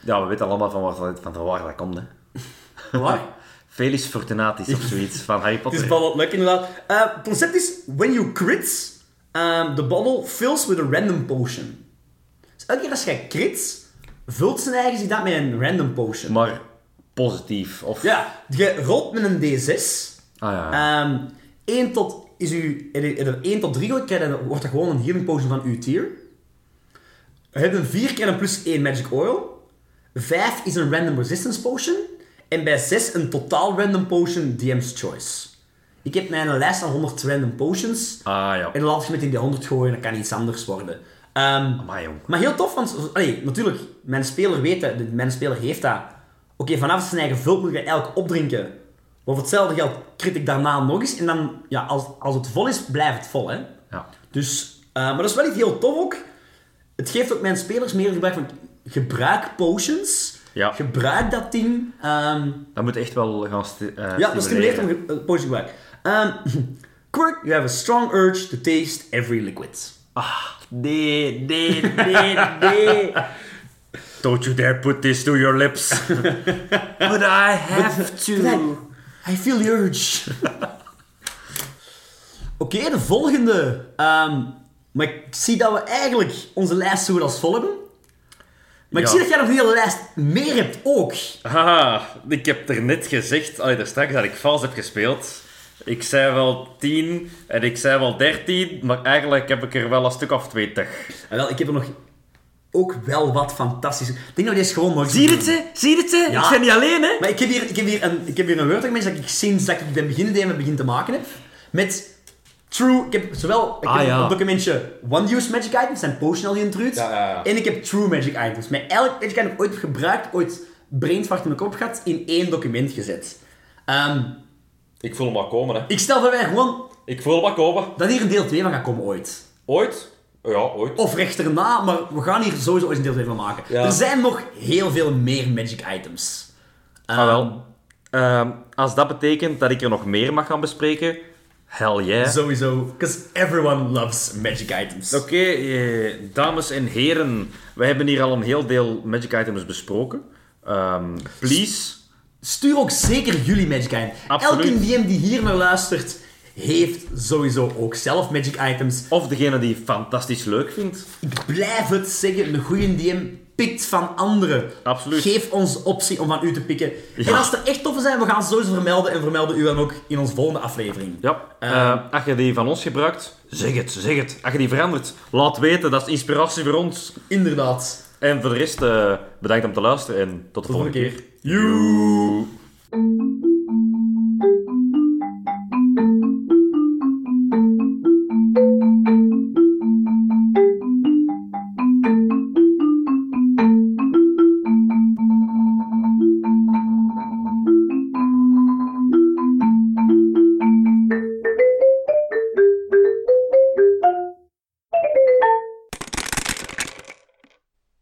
Ja, we weten allemaal van, waar, dat- van waar dat komt, hè. Waar? Felis Fortunatus of zoiets van Harry Het Potter. is bottled luck, inderdaad. Eh, Het concept is, when you crit, ehm, the bottle fills with a random potion. Dus elke keer als jij crit, vult zijn eigen zich dat met een random potion. Maar positief, of... Ja, je rolt met een D6. Ah, ja. Ehm 1 tot, is u, en er 1 tot 3 gooit, krijg je- dan wordt er gewoon een healing potion van uw tier. We hebben 4 keer een plus 1 magic oil. 5 is een random resistance potion. En bij 6 een totaal random potion DM's choice. Ik heb mijn lijst van 100 random potions. Ah, ja. En dan laat je meteen die 100 gooien, dan kan iets anders worden. Ehm, Amai, jong. maar heel tof, want allee, natuurlijk, mijn speler weet dat, de- mijn speler heeft dat. Oké, vanaf zijn eigen vult moet je eigenlijk opdrinken. Maar voor hetzelfde geld crit ik daarna nog eens. En dan, ja, als, als het vol is, blijft het vol, hè. ja. Dus, eh, maar dat is wel iets heel tof ook. Het geeft ook mijn spelers meer gebruik van... gebruik potions. Ja. Gebruik dat ding. ehm, Dat moet echt wel gaan sti- eh, ja, dat stimuleert stimuleren. om uh, potion gebruik. Ehm, quirk, you have a strong urge to taste every liquid. Ah, nee, nee, nee, nee. Don't you dare put this to your lips. But I have I, to. I feel the urge. Oké, de volgende. Ehm, maar ik zie dat we eigenlijk onze lijst zo goed als vol hebben. Maar ik Ja. zie dat jij nog een hele lijst meer hebt ook. Haha, Ah, ik heb er net gezegd, allee, daar straks dat ik vals heb gespeeld. Ik zei wel 10 en ik zei wel 13, maar eigenlijk heb ik er wel een stuk of 20. En wel, ik heb er nog ook wel wat fantastisch. Ik denk dat we deze gewoon nog Zie je het, ze? Zie je het, ze? Ja. Ik ben niet alleen, hè? Maar ik heb hier, ik heb hier een, ik heb hier een Word-document dat ik sinds dat ik ben beginnen te begin te maken heb. Met true... Ik heb zowel ik Ah, heb ja. een documentje one-use magic items, zijn potion al intrudes. Ja, ja, ja. En ik heb true magic items. Met elk magic item dat ik ooit heb gebruikt, ooit brainfart in mijn kop gehad, in één document gezet. Ehm, Ik voel hem al komen, hè. ik stel voor wij gewoon Ik voel hem al komen. dat hier een deel 2 van gaat komen ooit. Ooit? Ja, ooit. Of rechterna, maar we gaan hier sowieso ooit een deel 2 van maken. Ja. Er zijn nog heel veel meer magic items. Ah, wel. Ehm, als dat betekent dat ik er nog meer mag gaan bespreken, hell yeah. Sowieso, because everyone loves magic items. Oké, eh, dames en heren, we hebben hier al een heel deel magic items besproken. Ehm, please. Stuur ook zeker jullie Magic Item. Absoluut. Elke DM die hier naar luistert, heeft sowieso ook zelf Magic Items. Of degene die fantastisch leuk vindt. Ik blijf het zeggen, een goede DM pikt van anderen. Absoluut. Geef ons optie om van u te pikken. Ja. En als er echt toffe zijn, we gaan ze sowieso vermelden. En vermelden u dan ook in onze volgende aflevering. Ja. Eh, als je die van ons gebruikt, zeg het, zeg het. Als je die verandert, laat weten. Dat is inspiratie voor ons. Inderdaad. En voor de rest, eh, bedankt om te luisteren en tot de Tot de volgende volgende keer. keer. Joe.